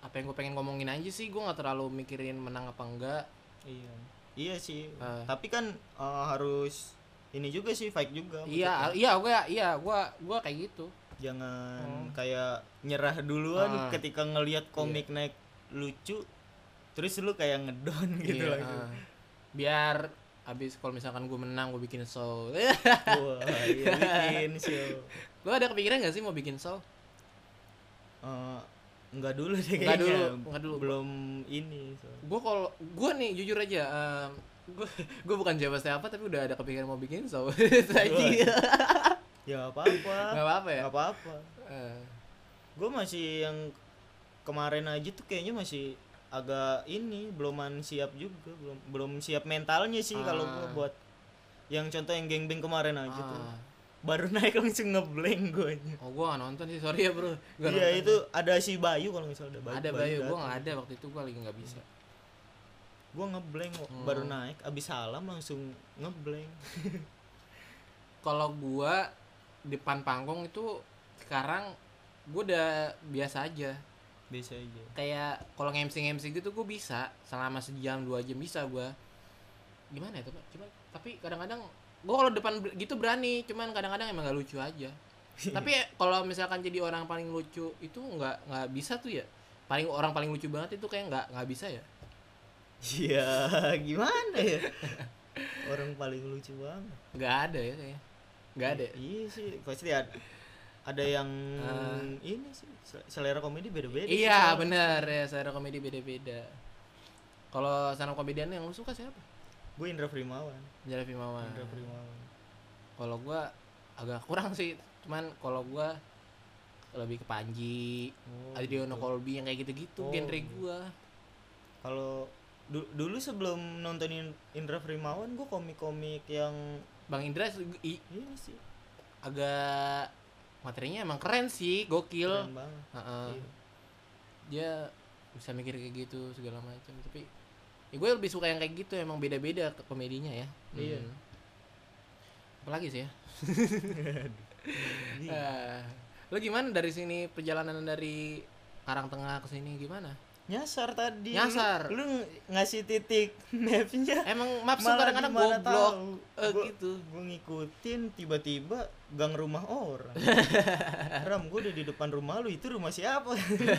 S1: apa yang gue pengen ngomongin aja sih gua nggak terlalu mikirin menang apa enggak
S2: Iya. Iya sih.
S1: Ah.
S2: Tapi kan eh, harus ini juga sih fight juga.
S1: iya iya gua iya gua gua kayak gitu
S2: Jangan kayak nyerah duluan
S1: Hmm. Ah. Iya.
S2: ketika ngelihat komik naik lucu terus lu kayak ngedown gitu
S1: Iya,
S2: langsung.
S1: eh. biar abis kalau misalkan gue menang gue bikin show
S2: Wah, iya bikin show.
S1: Gua ada kepikiran gak sih mau bikin show
S2: Eh, enggak dulu deh kayaknya.
S1: Enggak dulu, enggak dulu.
S2: Belum ini. soalnya.
S1: gue kalau gue nih jujur aja gue gue bukan siapa siapa tapi udah ada kepikiran mau bikin so tadi
S2: Ya nggak apa-apa.
S1: nggak apa apa ya
S2: Nggak apa-apa.
S1: Eh,
S2: gue masih yang kemarin aja tuh kayaknya masih agak ini beluman siap juga belum belum siap mentalnya sih kalau gue
S1: Ah.
S2: Nah, buat yang contoh yang geng-geng kemarin aja tuh
S1: ah.
S2: baru naik langsung ngeblank gue
S1: Oh gua nggak nonton sih sorry ya bro. Gua
S2: iya
S1: nonton.
S2: itu ada si Bayu kalau misalnya ada Bayu
S1: ada Bayu, gua
S2: datang.
S1: nggak ada waktu itu gua lagi nggak bisa.
S2: Gua ngeblank kok,
S1: Hmm.
S2: baru naik abis salam langsung ngeblank
S1: Kalau gua depan panggung itu sekarang gua udah biasa aja.
S2: biasa aja
S1: Kayak kalau MC MC gitu gua bisa selama sejam dua jam bisa gua. Gimana itu pak? Cuman tapi kadang-kadang gua kalau depan ber- gitu berani, cuman kadang-kadang emang nggak lucu aja. tapi ya, kalau misalkan jadi orang paling lucu itu nggak nggak bisa tuh ya. Paling orang paling lucu banget itu kayak nggak nggak bisa ya.
S2: iya gimana ya orang paling lucu banget
S1: Nggak ada ya kayaknya. Nggak ada. ya?
S2: iya sih pasti ada ada yang ini sih sel- selera komedi beda-beda
S1: Eh.
S2: sih
S1: Iya
S2: orang.
S1: bener ya selera komedi beda-beda. Kalau stand up komedian yang lu suka siapa?
S2: gue Indra Primawan
S1: Jara Mama.
S2: Indra Primawan
S1: Kalau gua agak kurang sih, cuman kalau gua lebih ke Panji,
S2: Oh,
S1: Adriono Colby yang kayak gitu-gitu
S2: Oh,
S1: genre
S2: gitu.
S1: gua.
S2: kalau du- dulu sebelum nontonin Indra Primawan gue komik-komik yang
S1: Bang Indra se- i-
S2: ini sih
S1: agak materinya emang keren sih,
S2: keren
S1: gokil.
S2: banget
S1: Heeh.
S2: Iya.
S1: Dia bisa mikir kayak gitu segala macam, tapi ya gue lebih suka yang kayak gitu emang beda-beda ke- komedinya ya.
S2: Iya.
S1: Hmm. Apalagi sih ya?
S2: Jadi,
S1: Eh, lo gimana dari sini perjalanan dari Karangtengah ke sini gimana?
S2: nyasar tadi
S1: Nyasar.
S2: lu, lu ng- ngasih titik mapnya
S1: Emang maps tuh
S2: Malah
S1: kadang-kadang
S2: gimana
S1: goblok
S2: tahu.
S1: Eh,
S2: Gua-
S1: gitu.
S2: gue ngikutin tiba-tiba gang rumah orang ram gue udah di depan rumah lu itu rumah siapa gue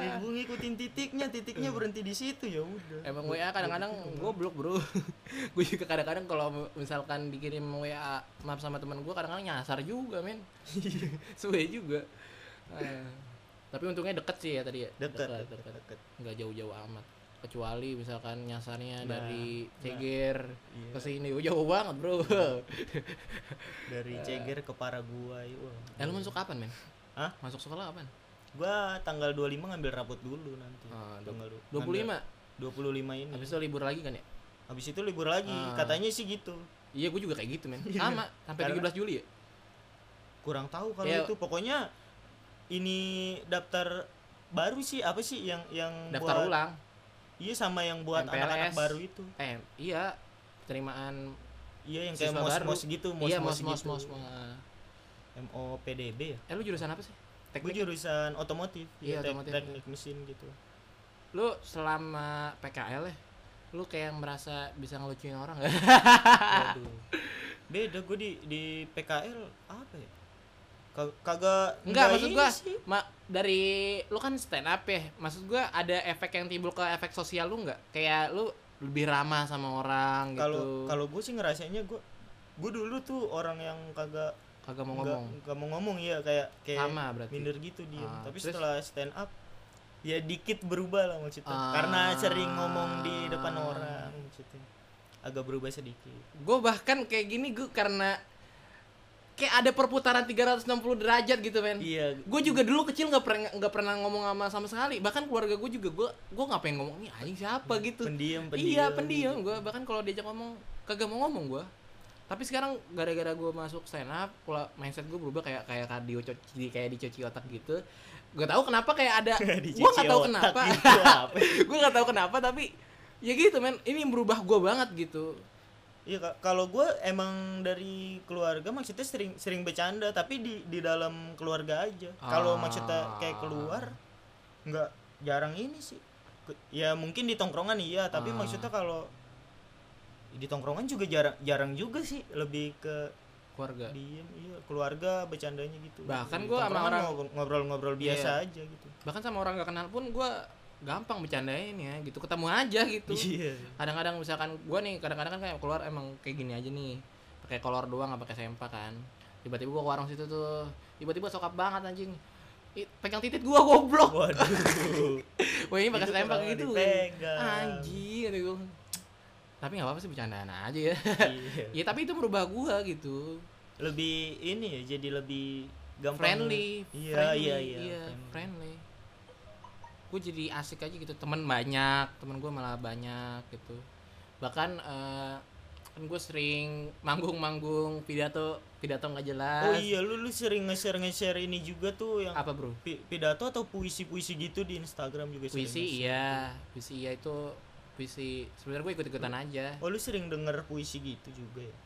S2: Eh, ngikutin titiknya titiknya berhenti di situ ya udah
S1: Emang WA kadang-kadang goblok bro. gue juga kadang-kadang kalau misalkan dikirim WA maps sama teman gue kadang-kadang nyasar juga men.
S2: Iya.
S1: Suwe juga. Eh, tapi untungnya deket sih ya tadi ya.
S2: dekat
S1: deket.
S2: dekat dekat
S1: nggak jauh-jauh amat kecuali misalkan nyasarnya
S2: Nah,
S1: dari
S2: nah.
S1: Ceger
S2: Iya.
S1: ke sini jauh banget bro
S2: dari ceger ke Paraguay
S1: eh lu masuk kapan men
S2: Hah? Iya.
S1: masuk sekolah kapan
S2: gue tanggal 25 ngambil rapot dulu nanti
S1: Ah, du-
S2: tanggal du-
S1: 25
S2: ngambil- 25 ini
S1: habis itu libur lagi kan ya
S2: habis itu libur lagi
S1: Ah.
S2: katanya sih gitu
S1: iya gue juga kayak gitu men sama sampai
S2: Karena-
S1: 17 Juli ya
S2: kurang tahu kalau
S1: Iya.
S2: itu pokoknya ini daftar baru sih apa sih yang yang
S1: daftar
S2: buat
S1: ulang
S2: iya sama yang buat
S1: MPLS.
S2: anak-anak baru itu
S1: eh iya penerimaan
S2: iya yang kayak
S1: Siswa baru.
S2: mos-mos gitu mos-mos
S1: iya mos mos
S2: gitu.
S1: mos mos.
S2: MOPDB ya
S1: eh lu jurusan apa sih
S2: gue
S1: teknik
S2: jurusan otomotif
S1: Iya,
S2: ya, tek-
S1: otomotif.
S2: teknik mesin gitu
S1: lu selama PKL ya lu kayak merasa bisa ngelucuin orang gak?
S2: Waduh. beda gue di di PKL apa ya Ka- kagak
S1: Enggak, maksud
S2: ini
S1: gua
S2: sih.
S1: ma- dari lu kan stand up ya. Maksud gua ada efek yang timbul ke efek sosial lu enggak? Kayak lu lebih ramah sama orang gitu.
S2: kalau kalau gue sih ngerasainnya gue gue dulu tuh orang yang kagak
S1: kagak mau
S2: nggak-
S1: ngomong.
S2: nggak mau ngomong ya kayak kayak
S1: Sama berarti.
S2: minder gitu dia
S1: Ah,
S2: tapi
S1: terus?
S2: setelah stand up ya dikit berubah lah maksudnya
S1: Ah.
S2: karena sering ngomong di depan orang maksudnya agak berubah sedikit
S1: Gua bahkan kayak gini gua karena kayak ada perputaran 360 derajat gitu, men.
S2: iya
S1: Gue juga dulu kecil nggak pernah nggak pernah ngomong sama sama sekali. Bahkan keluarga gue juga gue gue nggak pengen ngomong nih anjing siapa gitu.
S2: Hmm, pendiam pendiam
S1: Iya pendiam gue bahkan kalau diajak ngomong kagak mau ngomong gue. Tapi sekarang gara-gara gue masuk stand up, pola mindset gue berubah kayak kayak kardio cuci kayak dicuci otak gitu. Gue tahu kenapa kayak ada gue
S2: Dicuci
S1: nggak tahu
S2: otak gitu.
S1: kenapa.
S2: itu apa?
S1: gue nggak tahu kenapa tapi ya gitu men ini yang berubah gue banget gitu.
S2: iya Kak. kalau gue emang dari keluarga maksudnya sering sering bercanda tapi di di dalam keluarga aja kalau
S1: Ah.
S2: maksudnya kayak keluar nggak jarang ini sih Ke- ya mungkin di tongkrongan iya tapi
S1: Ah.
S2: maksudnya kalau di tongkrongan juga jarang jarang juga sih lebih ke
S1: Keluarga.
S2: diem iya keluarga bercandanya gitu
S1: Eh. Bahkan
S2: Di
S1: gua sama
S2: tongkrongan
S1: orang- Iya.
S2: ngobrol- ngobrol-ngobrol biasa aja gitu
S1: Bahkan sama orang gak kenal pun gue gampang bercandain ya gitu ketemu aja gitu.
S2: iya
S1: kadang-kadang misalkan gua nih kadang-kadang kan kayak keluar emang kayak gini aja nih pakai kolor doang nggak pakai sempak kan tiba-tiba gua ke warung situ tuh tiba-tiba sokap banget anjing Ih, pegang titik gua goblok
S2: waduh
S1: wah ini pakai
S2: Oh, Itu
S1: sempak
S2: kenapa
S1: gitu
S2: dipegang?
S1: anjing kata gua. tapi nggak apa-apa sih bercandaan aja ya
S2: Iya.
S1: ya tapi itu merubah gua gitu
S2: lebih ini ya jadi lebih gampang
S1: friendly
S2: iya
S1: friendly,
S2: iya iya, friendly.
S1: friendly gue jadi asik aja gitu teman banyak teman gue malah banyak gitu bahkan eh, kan gue sering manggung-manggung pidato pidato nggak jelas
S2: oh iya lu lu sering nge-share nge-share ini juga tuh yang
S1: apa bro
S2: pi- pidato atau puisi-puisi gitu di Instagram juga sering
S1: puisi iya puisi iya itu puisi sebenarnya gue ikut-ikutan aja
S2: nge-share. oh lu sering denger puisi gitu juga ya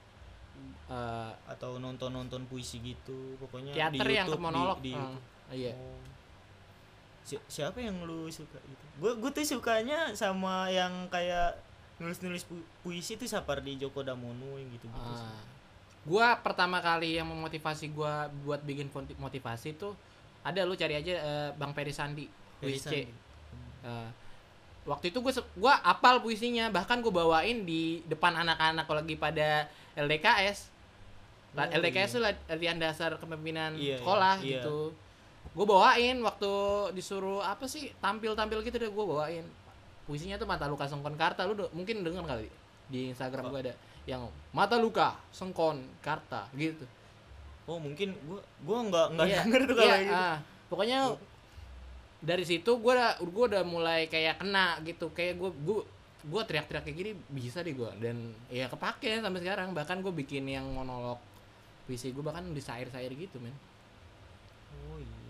S1: Eh,
S2: atau nonton-nonton puisi gitu pokoknya
S1: teater
S2: di
S1: yang ke
S2: YouTube, di-
S1: monolog
S2: di,
S1: eh,
S2: YouTube.
S1: iya
S2: Oh. Si- siapa yang lu suka gitu gue gue tuh sukanya sama yang kayak nulis-nulis pu- puisi tuh Sapardi Djoko Damono yang gitu gitu
S1: Ah. gua pertama kali yang memotivasi gua buat bikin ponti- motivasi tuh ada lu cari aja eh, Bang Peri Sandi puisi C.
S2: gitu.
S1: Eh, waktu itu gue gua apal puisinya bahkan gue bawain di depan anak-anak kalau lagi pada LDKS La-
S2: Oh,
S1: LDKS
S2: iya.
S1: itu latihan dasar kepemimpinan
S2: Iya, iya,
S1: sekolah
S2: iya.
S1: gitu gue bawain waktu disuruh apa sih tampil-tampil gitu deh gue bawain puisinya tuh mata luka sengkon karta lu de- mungkin denger kali di Instagram gue ada yang mata luka sengkon karta gitu
S2: oh mungkin gue gue nggak nggak
S1: Iya,
S2: denger tuh
S1: iya,
S2: kalau gitu
S1: ah. pokoknya dari situ gue gue udah mulai kayak kena gitu kayak gue gue gue teriak-teriak kayak gini bisa deh gue dan ya kepake sampai sekarang bahkan gue bikin yang monolog puisi gue bahkan disair-sair gitu men
S2: oh iya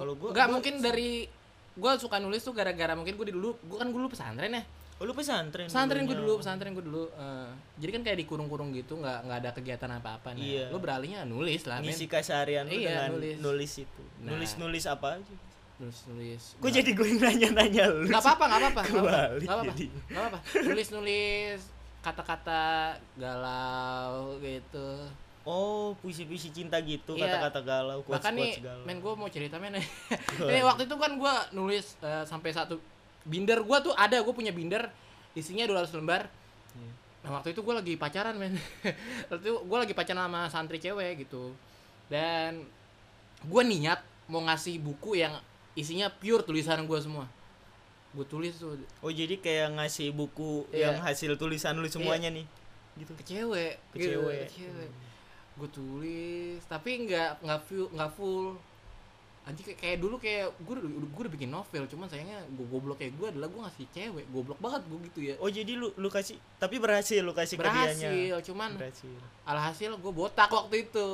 S2: kalau gue
S1: nggak mungkin dari gue suka nulis tuh gara-gara mungkin gue dulu gue kan dulu pesantren ya
S2: oh, lu pesantren
S1: pesantren gue dulu
S2: dulunya.
S1: pesantren gue dulu eh, jadi kan kayak dikurung-kurung gitu nggak nggak ada kegiatan apa-apa nih
S2: Iya.
S1: lo beralihnya nulis lah men
S2: ngisi keseharian lu
S1: Iya,
S2: dengan
S1: nulis.
S2: nulis, itu
S1: Nah.
S2: nulis nulis apa aja
S1: nulis nulis
S2: gue jadi gue nanya-nanya lu
S1: nggak apa-apa nggak apa-apa nggak apa-apa
S2: Kebalik
S1: nggak apa-apa
S2: jadi.
S1: nggak apa-apa nulis nulis kata-kata galau gitu
S2: oh puisi-puisi cinta gitu
S1: Iya.
S2: kata-kata galau quotes,
S1: bahkan nih
S2: quotes galau Iya.
S1: men gue mau cerita men ini waktu itu kan gue nulis eh, sampai satu binder gue tuh ada gue punya binder isinya 200 lembar
S2: Iya.
S1: Nah waktu itu gue lagi pacaran men Waktu itu gue lagi pacaran sama santri cewek gitu Dan gue niat mau ngasih buku yang isinya pure tulisan gue semua Gue tulis tuh
S2: Oh jadi kayak ngasih buku
S1: Iya.
S2: yang hasil tulisan lu semuanya nih. Gitu.
S1: ke cewek
S2: Ke
S1: gitu,
S2: cewek. Hmm.
S1: ke cewek. gue tulis tapi nggak nggak full nggak full anjing kayak, kayak dulu kayak gue udah, gua udah bikin novel cuman sayangnya gue goblok kayak gue adalah gue ngasih cewek goblok banget gue gitu ya
S2: Oh jadi lu lu kasih tapi berhasil lu kasih ke dianya.
S1: berhasil cuman
S2: Berhasil.
S1: alhasil gue botak waktu itu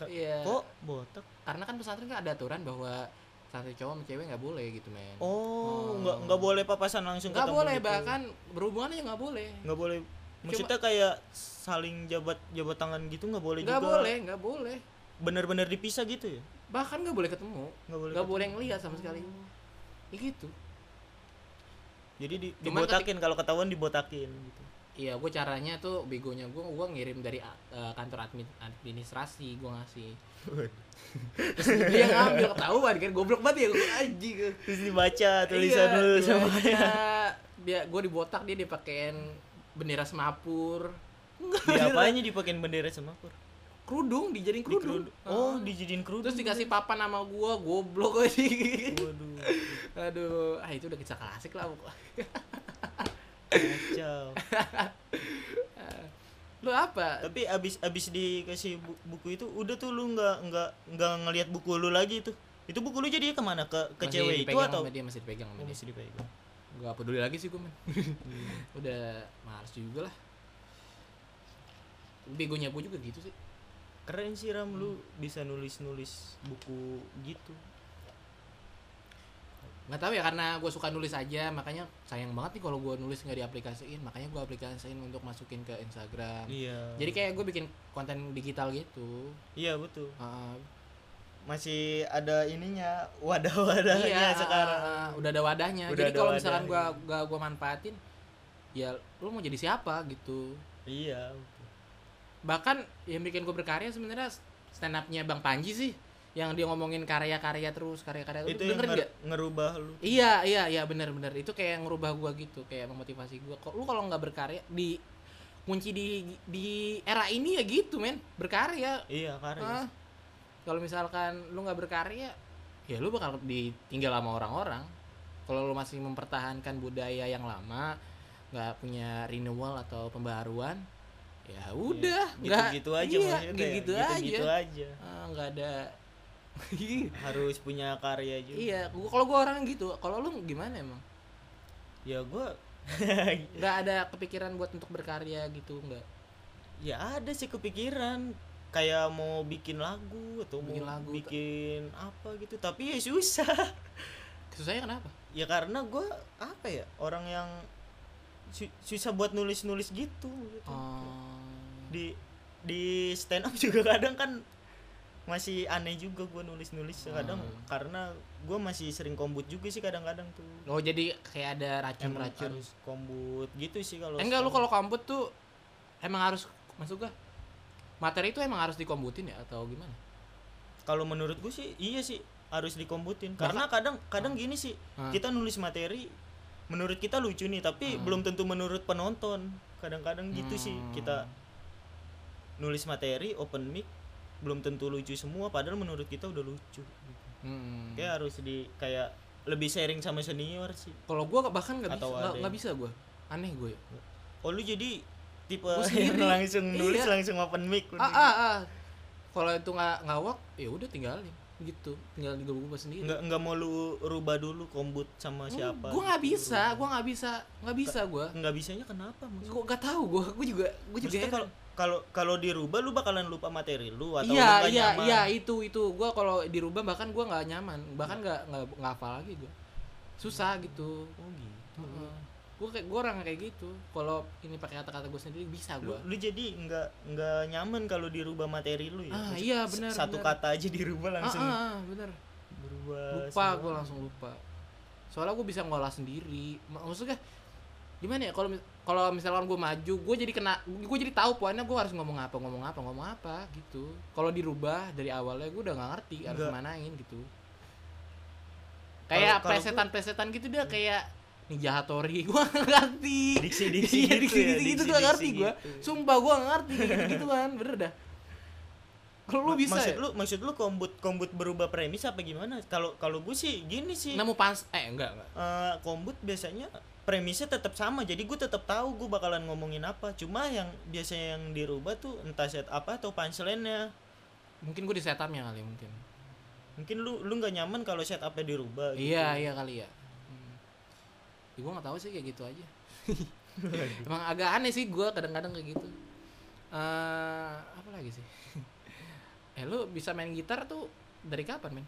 S2: Ke- Oh.
S1: iya
S2: Kok botak?
S1: karena kan pesantren kan ada aturan bahwa santri cowok sama cewek nggak boleh gitu men
S2: Oh,
S1: Oh.
S2: nggak nggak boleh papasan langsung
S1: nggak
S2: ketemu
S1: boleh
S2: gitu.
S1: bahkan berhubungannya nggak boleh
S2: nggak boleh. Maksudnya kayak saling jabat jabat tangan gitu nggak boleh
S1: nggak
S2: juga.
S1: boleh nggak boleh
S2: Bener-bener dipisah gitu ya?
S1: bahkan nggak boleh ketemu
S2: Nggak boleh.
S1: nggak
S2: ketemu. Oh.
S1: boleh ngelihat sama sekali ya gitu
S2: Jadi di,
S1: Cuman
S2: dibotakin kalau ketahuan dibotakin gitu.
S1: Iya, gue caranya tuh begonya gue, gue ngirim dari eh, kantor admin administrasi gue ngasih. Terus dia ngambil ketahuan kan, goblok banget ya gue aji gue.
S2: Terus dibaca tulisan lu sama
S1: Iya, Dia gue dibotak dia dipakein bendera semapur.
S2: Di apanya dipakein bendera sama kur?
S1: Kerudung dijadiin
S2: Di
S1: kerudung. Ah.
S2: kerudung. Oh, dijadiin kerudung.
S1: Terus dikasih papan sama gue, goblok gue sih.
S2: Waduh.
S1: Aduh, ah itu udah kisah klasik lah. pokoknya.
S2: Kacau.
S1: Lu apa?
S2: Tapi abis abis dikasih bu- buku itu udah tuh lu nggak nggak nggak ngelihat buku lu lagi tuh. Itu buku lu jadi kemana ke ke
S1: Masih
S2: cewek itu
S1: dipegang
S2: atau
S1: sama dia masih dipegang sama
S2: Oh,
S1: dia.
S2: masih dipegang.
S1: Gak peduli lagi sih gue men
S2: Hmm.
S1: Udah males juga lah Begonya gue juga gitu sih
S2: Keren sih Ram lu bisa nulis nulis buku gitu.
S1: Gak tahu ya karena gue suka nulis aja Makanya sayang banget nih kalau gue nulis nggak diaplikasiin Makanya gue aplikasiin untuk masukin ke Instagram
S2: Iya.
S1: Jadi kayak gue bikin konten digital gitu
S2: Iya betul.
S1: Uh,
S2: Masih ada ininya wadah-wadahnya ya, sekarang.
S1: uh, uh, Udah ada wadahnya
S2: Udah
S1: Jadi
S2: ada
S1: kalau misalkan gue
S2: wadahnya.
S1: gak gue manfaatin Ya lu mau jadi siapa gitu
S2: Iya.
S1: bahkan yang bikin gue berkarya sebenarnya stand upnya bang Panji sih yang dia ngomongin karya-karya terus karya-karya terus
S2: Itu yang
S1: dengerin
S2: nger-
S1: nggak?
S2: ngerubah lu.
S1: iya iya iya benar-benar itu kayak ngerubah gue gitu kayak memotivasi gue kok lu kalau nggak berkarya di kunci di di era ini ya gitu men berkarya Ah.
S2: Iya karya.
S1: kalau misalkan lu nggak berkarya ya lu bakal ditinggal sama orang-orang kalau lu masih mempertahankan budaya yang lama nggak punya renewal atau pembaruan ya udah nggak
S2: Iya. Gitu-gitu aja
S1: iya,
S2: maksudnya.
S1: gitu, aja
S2: Gitu aja.
S1: Ah, nggak ada
S2: Harus punya karya juga.
S1: iya gua kalau gua orang gitu kalau lu gimana emang
S2: Ya gua
S1: nggak ada kepikiran buat untuk berkarya gitu nggak
S2: ya ada sih kepikiran kayak mau bikin lagu atau
S1: Bikin
S2: mau
S1: lagu,
S2: bikin apa gitu tapi ya susah
S1: Kesusahannya kenapa?
S2: ya karena gue apa ya orang yang su- susah buat nulis nulis gitu, gitu.
S1: Oh.
S2: di di stand up juga kadang kan masih aneh juga gue nulis nulis kadang
S1: Hmm.
S2: karena gue masih sering kombut juga sih kadang-kadang tuh
S1: Oh jadi kayak ada
S2: emang
S1: racun-racun.
S2: harus kombut gitu sih kalau
S1: Eh, enggak lu
S2: stand
S1: kalau kamput tuh emang harus masuk gak? Materi itu emang harus dikombutin ya atau gimana?
S2: up. kalau menurut gue sih iya sih harus dikombutin karena kadang kadang gini sih
S1: Hmm.
S2: kita nulis materi menurut kita lucu nih
S1: Ah.
S2: tapi belum tentu menurut penonton kadang-kadang gitu sih
S1: Hmm.
S2: kita nulis materi open mic belum tentu lucu semua padahal menurut kita udah lucu
S1: Hmm.
S2: kayak harus di kayak lebih sharing sama senior sih
S1: Kalau gua bahkan nggak bisa,
S2: Atau
S1: nggak-
S2: ada
S1: nggak
S2: yang-
S1: bisa gua. Aneh gua ya.
S2: oh lu jadi tipe
S1: Gua
S2: yang
S1: sendiri.
S2: langsung nulis
S1: Iya.
S2: langsung open mic lu
S1: Ah
S2: gitu.
S1: ah ah. Kalau itu nggak ngawak, ya udah tinggalin gitu. Tinggal digubuk-gubuk sendiri. Hmm,
S2: nggak nggak mau lu rubah dulu kombut sama siapa
S1: Gua nggak
S2: gitu.
S1: bisa, gua nggak bisa, nggak bisa gua.
S2: nggak bisanya kenapa maksudnya
S1: Gua nggak tahu gua, gua juga ya. gua juga
S2: Maksudnya
S1: heran.
S2: kalau kalau kalau dirubah lu bakalan lupa materi lu atau lu
S1: Iya
S2: nggak
S1: iya
S2: nyaman?
S1: iya itu itu gua kalau dirubah bahkan gua nggak nyaman bahkan nggak nggak nggak hafal lagi gua susah gitu
S2: oh gitu
S1: Heeh. gua kayak gua orang kayak gitu kalau ini pakai kata-kata gua sendiri bisa
S2: lu,
S1: gua
S2: lu jadi nggak nggak nyaman kalau dirubah materi lu ya
S1: Ah,
S2: Maksud-
S1: iya,
S2: s-
S1: benar,
S2: satu
S1: benar.
S2: kata aja dirubah
S1: ah,
S2: langsung Eh,
S1: ah, ah, bener
S2: berubah
S1: lupa
S2: semua.
S1: gua langsung lupa soalnya gua bisa ngolah sendiri Ma- maksudnya gimana ya kalau mis- kalau misalkan gua maju gua jadi kena gua jadi tahu poinnya gua harus ngomong apa ngomong apa ngomong apa gitu kalau dirubah dari awalnya gua udah nggak ngerti harus
S2: Nggak.
S1: manain gitu kayak
S2: kalau gua- Hmm.
S1: plesetan-plesetan gitu dia kayak Nijahatori gua nggak ngerti
S2: Diksi, diksi
S1: Iya, diksi,
S2: gitu ya,
S1: diksi gitu
S2: diksi,
S1: gua nggak
S2: diksi
S1: ngerti gua
S2: gitu.
S1: sumpah gua nggak ngerti gituan bener dah kalau lu
S2: Ma-
S1: bisa
S2: maksud
S1: ya?
S2: lu maksud lu kombut kombut berubah premis apa gimana kalau kalau gue sih gini sih
S1: nemu pans eh enggak enggak
S2: Eh, kombut biasanya premisnya tetap sama jadi gue tetap tahu gue bakalan ngomongin apa cuma yang biasanya yang dirubah tuh entah set apa atau punchline-nya
S1: mungkin gua di setupnya kali mungkin
S2: mungkin lu lu nggak nyaman kalau set apa dirubah gitu.
S1: Iya iya kali ya. Hmm. Ya, gue nggak tahu sih kayak gitu aja. Emang agak aneh sih gue kadang-kadang kayak gitu. Eh apa lagi sih? eh lu bisa main gitar tuh dari kapan men?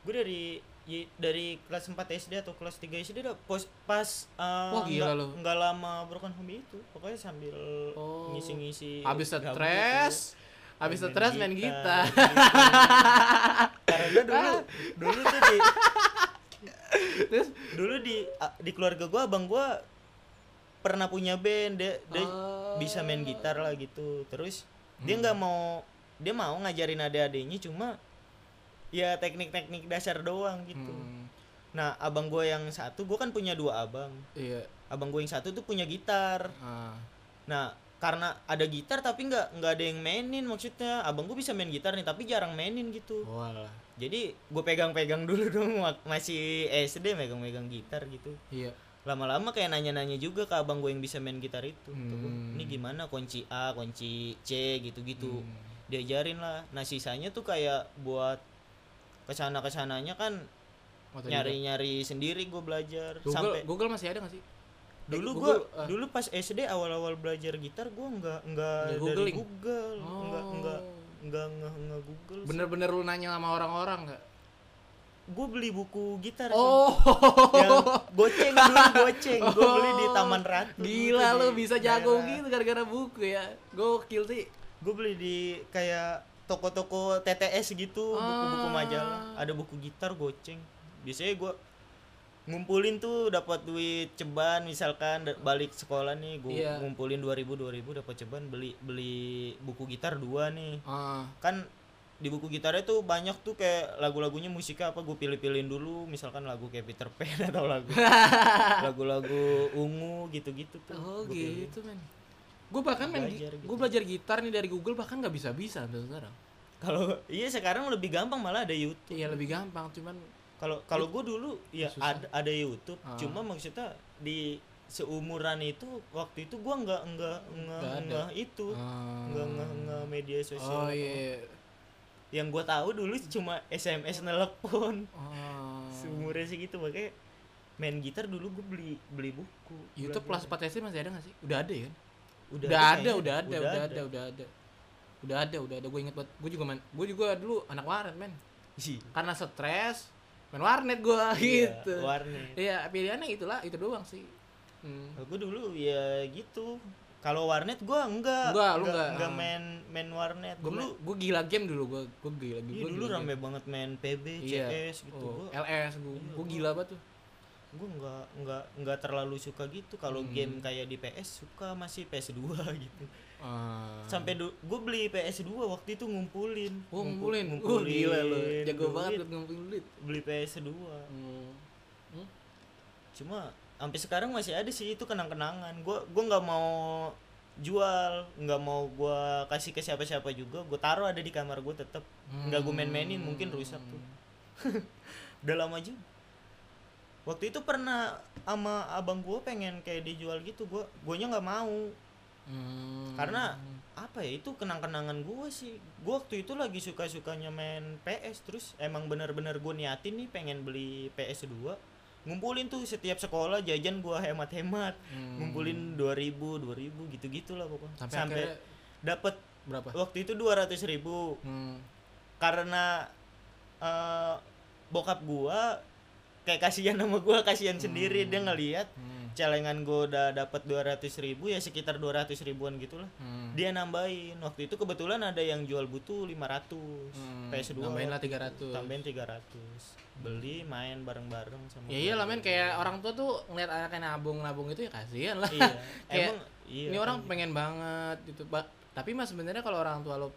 S2: gue dari ya, dari kelas 4 SD atau kelas 3 SD udah pos, pas eh,
S1: Wah, gila
S2: nggak-
S1: lu.
S2: nggak lama broken home itu pokoknya sambil
S1: Oh.
S2: ngisi-ngisi
S1: Habis
S2: gabut
S1: stres,
S2: gitu.
S1: habis stres main gitar.
S2: karena dulu dulu tuh di
S1: Terus
S2: dulu di a- di keluarga gua abang gua pernah punya band dia, dia
S1: Oh.
S2: bisa main gitar lah gitu terus dia nggak mau dia mau ngajarin adik-adiknya cuma ya teknik-teknik dasar doang gitu
S1: hmm,
S2: nah abang gua yang satu gua kan punya dua abang
S1: iya.
S2: abang gua yang satu tuh punya gitar
S1: ah.
S2: nah karena ada gitar tapi nggak nggak ada yang mainin maksudnya abang gua bisa main gitar nih tapi jarang mainin gitu
S1: Walah.
S2: jadi gue pegang-pegang dulu dong wak- masih SD megang-megang gitar gitu
S1: Iya.
S2: lama-lama kayak nanya-nanya juga ke abang gue yang bisa main gitar itu Tuh, gua,
S1: Hmm.
S2: ini gimana kunci A kunci C gitu-gitu
S1: Hmm.
S2: diajarin lah nah sisanya tuh kayak buat kesana kesananya kan
S1: Otodidak.
S2: nyari-nyari sendiri gue belajar
S1: Oh, Google
S2: sampai
S1: Google masih ada nggak sih?
S2: dulu
S1: Google,
S2: gue
S1: ah.
S2: dulu pas SD awal-awal belajar gitar gue nggak nggak
S1: Nggak
S2: dari
S1: googling.
S2: Google Hmm, nggak
S1: Oh.
S2: nggak nggak nggak nggak Google
S1: Bener-bener lu nanya sama orang-orang nggak?
S2: gue beli buku gitar
S1: Oh.
S2: yang goceng dulu goceng gue beli di Taman Ratu
S1: Gila lu bisa jago gitu gara-gara buku ya. Gokil sih.
S2: gue beli di kayak toko-toko TTS gitu buku-buku
S1: Ah.
S2: majalah ada buku gitar goceng biasanya gue ngumpulin tuh dapat duit ceban misalkan da- balik sekolah nih gue
S1: Iya.
S2: ngumpulin 2000 2000 dapat ceban beli beli buku gitar dua nih
S1: Ah,
S2: kan di buku gitarnya tuh banyak tuh kayak lagu-lagunya musiknya apa gue pilih-pilihin dulu misalkan lagu kayak Peter Pan atau lagu lagu-lagu ungu gitu-gitu tuh
S1: oh
S2: gua pilih.
S1: gitu men. Gue bahkan main
S2: Belajar gitu.
S1: gue belajar gitar nih dari Google bahkan nggak bisa-bisa sampai sekarang.
S2: kalau iya sekarang lebih gampang malah ada YouTube
S1: Iya lebih gampang cuman
S2: kalau kalau gue dulu ya
S1: Susah.
S2: ada, ada YouTube
S1: Ah.
S2: cuma maksudnya di seumuran itu waktu itu gua nggak nggak nggak
S1: Nggak ada.
S2: nggak itu
S1: ah,
S2: nggak nggak nggak media sosial
S1: Oh iya.
S2: yang gua tahu dulu cuma SMS nelpon
S1: Ah,
S2: seumurnya sih gitu makanya main gitar dulu gue beli beli buku
S1: YouTube kelas 4 SD masih ada gak sih? Udah ada ya kan? udah, ada,
S2: kayaknya.
S1: udah ada udah ada udah ada udah ada udah ada gue inget banget gue juga main gue juga dulu anak warnet men
S2: Ih,
S1: karena stres main warnet gue gitu
S2: iya, warnet
S1: iya pilihannya itulah itu doang sih hmm.
S2: aku dulu ya gitu kalau warnet gua enggak
S1: Enggak, lu enggak.
S2: enggak
S1: Ah.
S2: main main warnet
S1: gue
S2: dulu
S1: gue gila game dulu gue gue gila
S2: iya,
S1: gua
S2: dulu
S1: gila
S2: rame banget main PB
S1: game. iya.
S2: CS gitu
S1: Oh,
S2: gua
S1: LS gue gue gila banget tuh
S2: gua enggak enggak enggak terlalu suka gitu kalau
S1: Hmm.
S2: game kayak di PS suka masih PS2 gitu
S1: Ah.
S2: sampai du- gua beli PS2 waktu itu ngumpulin
S1: Oh,
S2: Ngumpul-
S1: ngumpulin. Uh, gila lu. Jago
S2: duit.
S1: banget lu ngumpulin duit.
S2: beli PS2
S1: Hmm. Hmm?
S2: cuma sampai sekarang masih ada sih itu kenang-kenangan gua gua nggak mau jual nggak mau gua kasih ke siapa-siapa juga gue taruh ada di kamar gue tetep nggak gue main-mainin mungkin rusak tuh udah lama juga waktu itu pernah sama abang gue pengen kayak dijual gitu gue guanya nggak mau
S1: Hmm.
S2: karena apa ya itu kenang-kenangan gue sih gue waktu itu lagi suka-sukanya main PS terus emang bener-bener gue niatin nih pengen beli PS2 ngumpulin tuh setiap sekolah jajan gue hemat-hemat
S1: Hmm.
S2: ngumpulin 2000 2000 gitu-gitu lah pokoknya
S1: sampai,
S2: sampai,
S1: akhirnya
S2: dapet
S1: berapa?
S2: waktu itu 200.000 ribu
S1: Hmm.
S2: karena eh, bokap gua kayak kasihan sama gua kasihan sendiri dia ngelihat
S1: Hmm.
S2: celengan gua udah dapat 200.000 ribu ya sekitar 200 ribuan gitulah
S1: Hmm.
S2: dia nambahin waktu itu kebetulan ada yang jual butuh 500
S1: Hmm,
S2: PS2
S1: Nambahin lah 300.
S2: tambahin 300 beli main bareng-bareng sama gitu.
S1: Ya iyalah men kayak orang tua tuh ngeliat anaknya nabung-nabung itu ya kasihan lah.
S2: iya
S1: Kayak,
S2: emang iya
S1: Ini orang pengen banget gitu. Ba- tapi mas sebenarnya kalau orang tua lo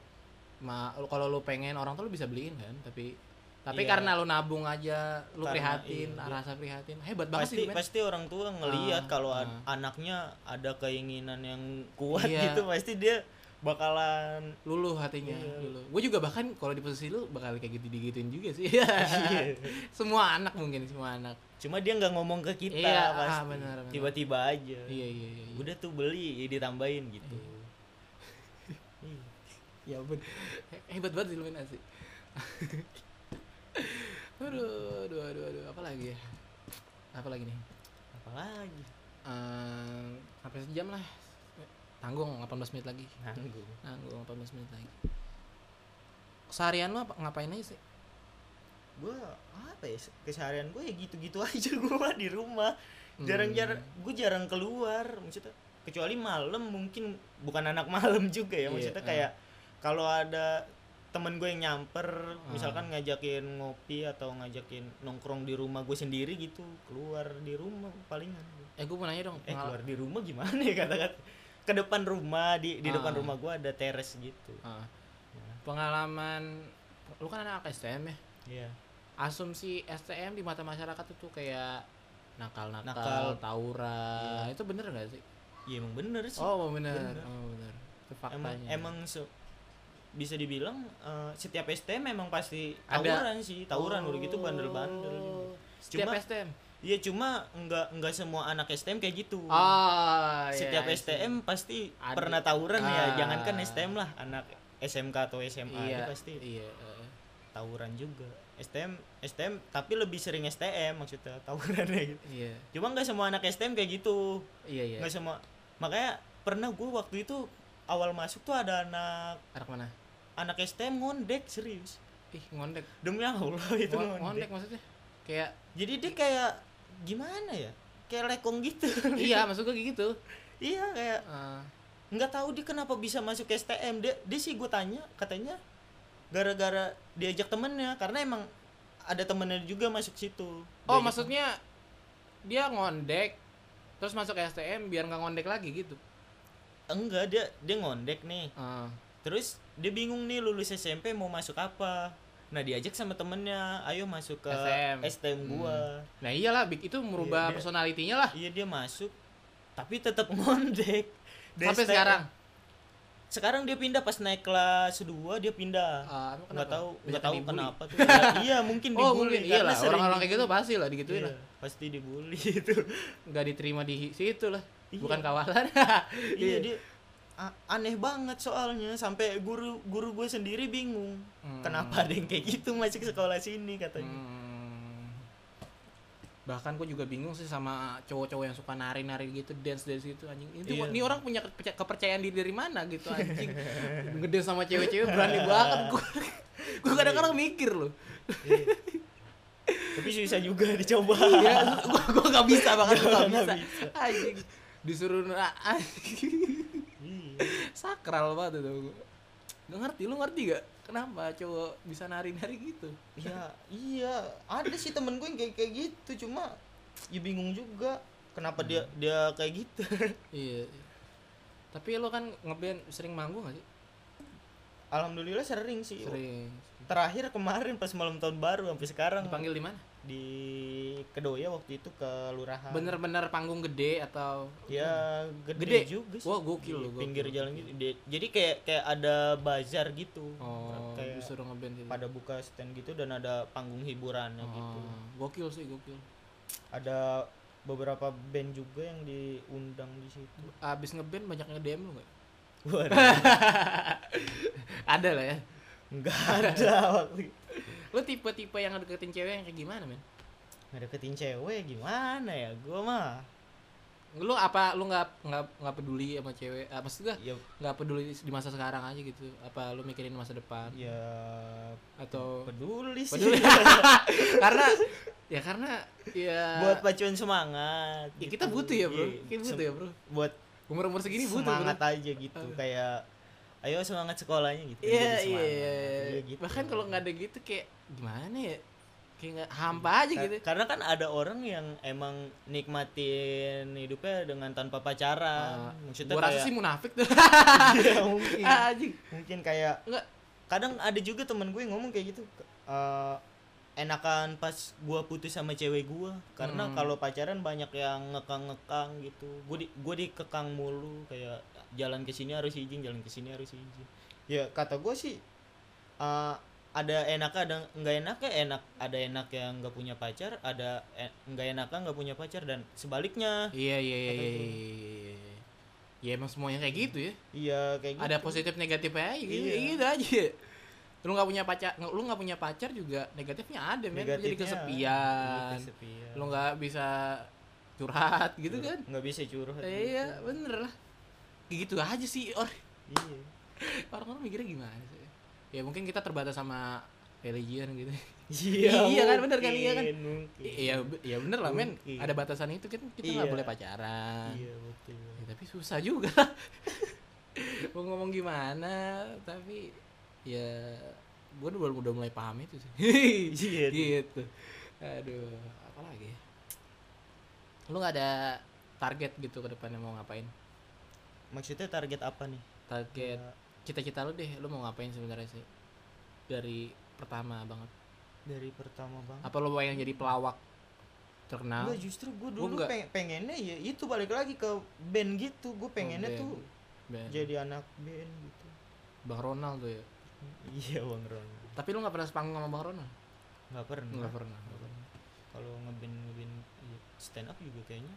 S1: ma kalau lo pengen orang tua lo bisa beliin kan, tapi tapi
S2: Iya.
S1: karena lo nabung aja, lo
S2: Karena,
S1: prihatin,
S2: iya,
S1: rasa prihatin. Hebat banget
S2: pasti
S1: sih, men.
S2: pasti orang tua
S1: Ah,
S2: ngelihat kalau an-
S1: ah.
S2: anaknya ada keinginan yang kuat
S1: Iya.
S2: gitu pasti dia bakalan
S1: luluh hatinya
S2: Iya.
S1: luluh. Gue juga bahkan kalau di posisi lu bakal kayak gitu digituin juga sih. Ah.
S2: Iya.
S1: semua anak mungkin semua anak.
S2: cuma dia nggak ngomong ke kita
S1: Iya, ah,
S2: pasti
S1: benar, benar.
S2: tiba-tiba aja
S1: Iya iya iya. iya.
S2: udah tuh beli ditambahin gitu Iya.
S1: Ya ampun. He- Hebat banget sih lu Min, asli. aduh, aduh, aduh, aduh, apa lagi ya? Apa lagi nih?
S2: apalagi
S1: Eh, sampai sejam lah. Tanggung 18 menit lagi.
S2: nanggung
S1: Tanggung 18 menit lagi. Seharian lu apa, ngapain aja sih?
S2: gue apa ya keseharian gue ya gitu-gitu aja gue mah di rumah jarang-jarang
S1: Hmm.
S2: gue jarang keluar maksudnya kecuali malam mungkin bukan anak malam juga
S1: Iya,
S2: ya maksudnya
S1: ah.
S2: kayak kalau ada temen gue yang nyamper
S1: Hmm.
S2: misalkan ngajakin ngopi atau ngajakin nongkrong di rumah gue sendiri gitu keluar di rumah palingan
S1: Eh, gue mau nanya dong.
S2: eh
S1: pengal-
S2: keluar di rumah gimana ya kata-kata ke depan rumah di di
S1: Ah.
S2: depan rumah gue ada teres gitu
S1: Ah. pengalaman lu kan anak STM ya
S2: Iya.
S1: asumsi STM di mata masyarakat itu kayak nakal-nakal
S2: Nakal. Iya.
S1: tawuran itu bener nggak sih
S2: ya emang bener sih
S1: oh bener,
S2: Bener.
S1: oh bener itu
S2: emang
S1: faktanya
S2: emang se- bisa dibilang eh, setiap STM memang pasti
S1: Ada.
S2: tawuran sih tawuran udah gitu
S1: Oh.
S2: bandel-bandel
S1: setiap
S2: Cuma-
S1: STM
S2: iya cuma nggak nggak semua anak STM kayak gitu
S1: ah iya,
S2: setiap
S1: I see.
S2: STM pasti
S1: Ada.
S2: pernah tawuran
S1: Ah.
S2: ya jangankan STM lah anak SMK atau SMA
S1: iya
S2: itu pasti
S1: iya eh.
S2: tawuran juga STM STM tapi lebih sering STM maksudnya tawurannya gitu
S1: iya
S2: cuma nggak semua anak STM kayak gitu
S1: iya iya
S2: nggak semua makanya pernah gue waktu itu awal masuk tuh ada anak
S1: anak mana
S2: anak STM ngondek serius
S1: ih ngondek
S2: demi Allah itu
S1: Ngo- ngondek
S2: ngondek.
S1: maksudnya kayak
S2: jadi dia kayak gimana ya kayak lekong gitu
S1: iya maksud gue kayak gitu
S2: iya kayak
S1: Ah,
S2: nggak tahu dia kenapa bisa masuk STM dia, dia sih gue tanya katanya gara-gara diajak temennya karena emang ada temennya juga masuk situ
S1: Oh
S2: Diajak-
S1: maksudnya dia ngondek terus masuk STM biar nggak ngondek lagi gitu.
S2: enggak dia dia ngondek nih
S1: Ah.
S2: terus dia bingung nih lulus SMP mau masuk apa nah diajak sama temennya ayo masuk ke
S1: STM.
S2: STM gua
S1: Nah iyalah Big itu merubah
S2: Iya, dia-
S1: personalitinya lah
S2: iya dia masuk tapi tetap ngondek Dia
S1: sampai
S2: STM.
S1: sekarang.
S2: sekarang dia pindah pas naik kelas 2 dia pindah
S1: Ah, emang
S2: nggak
S1: kenapa?
S2: tahu
S1: Banyak
S2: nggak
S1: yang
S2: tahu
S1: dibully.
S2: kenapa tuh Ya, iya mungkin
S1: Oh
S2: dibully
S1: mungkin
S2: karena
S1: iyalah
S2: sering
S1: orang-orang kayak gitu
S2: dibully.
S1: pasti lah digituin
S2: Iya,
S1: lah.
S2: pasti dibully itu
S1: Nggak diterima di situ lah.
S2: Iya.
S1: Bukan kawalan.
S2: iya dia a- aneh banget soalnya sampai guru guru gue sendiri bingung
S1: Hmm.
S2: kenapa ada yang kayak gitu masuk sekolah sini katanya
S1: Hmm. bahkan gue juga bingung sih sama cowok-cowok yang suka nari-nari gitu dance dance gitu anjing itu
S2: Iya.
S1: ini orang punya keperca- kepercayaan diri dari mana gitu anjing ngedance sama cewek-cewek berani banget gue gue kadang-kadang mikir loh
S2: Iya. tapi susah juga dicoba
S1: ya gue gue nggak bisa bahkan gue nggak
S2: Nggak
S1: bisa anjing disuruh na- anjing.
S2: Iya.
S1: sakral banget itu gak ngerti lu ngerti gak kenapa cowok bisa nari-nari gitu
S2: ya iya ada sih temen gue yang kayak kayak gitu cuma ya bingung juga
S1: Hmm.
S2: kenapa dia dia kayak gitu
S1: iya tapi lu kan ngeband sering manggung gak sih
S2: alhamdulillah sering sih
S1: sering
S2: terakhir kemarin pas malam tahun baru sampai sekarang
S1: dipanggil di mana
S2: di Kedoya waktu itu ke lurahan
S1: bener-bener panggung gede atau
S2: ya gede,
S1: Gede?
S2: juga sih
S1: Wah, gokil
S2: Di
S1: loh, gokil.
S2: pinggir jalan gitu Dia- jadi kayak kayak ada bazar gitu
S1: oh
S2: kayak
S1: disuruh ngeband gitu
S2: pada buka stand gitu dan ada panggung hiburannya gitu
S1: oh, gokil sih gokil
S2: ada beberapa band juga yang diundang di situ
S1: abis ngeband banyak yang DM lu gak?
S2: Waduh,
S1: ada lah ya
S2: nggak ada waktu itu.
S1: lu tipe-tipe yang deketin cewek yang kayak gimana men?
S2: ngedeketin cewek gimana ya gua mah
S1: lu apa lu nggak nggak nggak peduli sama cewek apa maksud gua
S2: ya
S1: nggak peduli di masa sekarang aja gitu apa lu mikirin masa depan
S2: ya
S1: atau
S2: peduli sih
S1: peduli karena ya karena ya
S2: buat pacuan semangat
S1: ya
S2: gitu.
S1: kita butuh ya bro
S2: Iya,
S1: kita butuh
S2: sem-
S1: ya bro
S2: buat
S1: umur umur segini butuh
S2: semangat
S1: bro.
S2: aja gitu kayak ayo semangat sekolahnya gitu
S1: iya
S2: jadi
S1: iya
S2: semangat.
S1: iya.
S2: Iya, gitu.
S1: bahkan kalau nggak ada gitu kayak gimana ya kayak nggak hampa aja
S2: Ka-
S1: gitu
S2: karena kan ada orang yang emang nikmatin hidupnya dengan tanpa pacaran maksudnya
S1: Ah, gua
S2: kayak
S1: rasa sih munafik tuh
S2: Iya, mungkin
S1: Ah, anjing
S2: mungkin kayak
S1: enggak
S2: kadang ada juga temen gue ngomong kayak gitu ke- eh, enakan pas gua putus sama cewek gua karena
S1: Hmm.
S2: kalau pacaran banyak yang ngekang ngekang gitu gue di gue dikekang mulu kayak jalan ke sini harus izin jalan ke sini harus izin ya kata gue sih eh, ada enaknya ada nggak enaknya enak ada enak yang nggak punya pacar ada en- nggak enaknya nggak punya pacar dan sebaliknya
S1: iya iya iya
S2: Kata
S1: iya
S2: itu.
S1: iya, iya. ya emang semuanya kayak gitu ya
S2: iya kayak gitu
S1: ada positif negatifnya aja gitu,
S2: Iya.
S1: gitu aja lu nggak punya pacar lu nggak punya pacar juga negatifnya ada men Lu jadi
S2: Negatifnya,
S1: kesepian
S2: iya, kesepian.
S1: lu nggak bisa curhat gitu kan
S2: nggak bisa curhat gitu.
S1: iya bener lah Kayak gitu aja sih orang
S2: iya
S1: orang mikirnya gimana sih ya mungkin kita terbatas sama religion gitu
S2: Iya,
S1: Iya kan, bener kan, iya kan?
S2: mungkin, mungkin.
S1: iya be- ya bener lah men
S2: Mungkin.
S1: ada batasan itu kan kita nggak
S2: Iya.
S1: boleh pacaran
S2: Iya, betul.
S1: Ya, tapi susah juga mau ngomong gimana tapi ya gue udah, udah mulai paham itu sih
S2: Iya.
S1: gitu aduh apa lagi ya? lu nggak ada target gitu ke depannya mau ngapain
S2: Maksudnya target apa nih?
S1: target cita-cita lu deh lu mau ngapain sebenarnya sih dari pertama banget
S2: Dari pertama banget.
S1: apa lu pengen jadi pelawak terkenal
S2: Enggak, justru
S1: Gua
S2: gue dulu
S1: enggak.
S2: peng- pengennya ya itu balik lagi ke band gitu. Gue pengennya
S1: Oh, band.
S2: tuh
S1: Ben-
S2: jadi anak band gitu.
S1: bang Ronald tuh ya
S2: Iya, Bang Ron.
S1: tapi lu nggak pernah sepanggung sama bang Ronald
S2: Enggak pernah.
S1: nggak pernah nggak pernah
S2: Kalau ngeband ngeband iya, stand up juga kayaknya.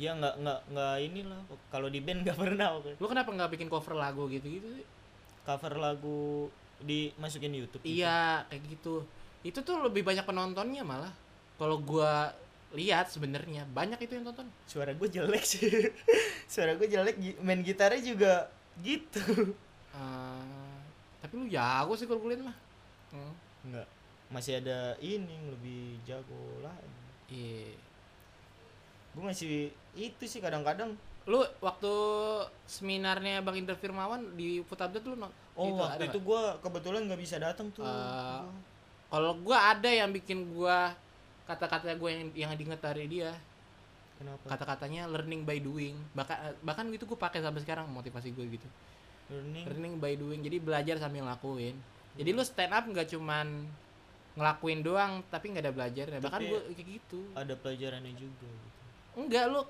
S2: Ya enggak enggak enggak inilah. Kalau di band enggak pernah pokoknya.
S1: lu kenapa nggak bikin cover lagu gitu-gitu sih?
S2: Cover lagu dimasukin di YouTube. gitu.
S1: Iya, kayak gitu. Itu tuh lebih banyak penontonnya malah. Kalau gua lihat sebenarnya banyak itu yang nonton.
S2: Suara gue jelek sih. Suara gue jelek gi- main gitarnya juga gitu.
S1: Eh, tapi lu jago sih kalau gue lihat mah. Hmm.
S2: Enggak. Masih ada ini yang lebih jago lah.
S1: Iya.
S2: Gue masih itu sih kadang-kadang.
S1: Lu waktu seminarnya Bang Indra Firmawan di Putabda tuh lu no-
S2: Oh
S1: ada
S2: waktu itu
S1: nggak?
S2: gua kebetulan nggak bisa datang tuh.
S1: Eh,
S2: Gua-
S1: Kalau gua ada yang bikin gua kata-kata gua yang yang diinget dari dia
S2: Kenapa?
S1: kata-katanya learning by doing bahkan bahkan itu gue pakai sampai sekarang motivasi gue gitu
S2: Learning.
S1: learning by doing jadi belajar sambil ngelakuin jadi lu stand up nggak cuman ngelakuin doang tapi nggak ada belajarnya bahkan
S2: Tapi-
S1: gue kayak gitu
S2: Ada pelajarannya juga. Gitu.
S1: enggak lu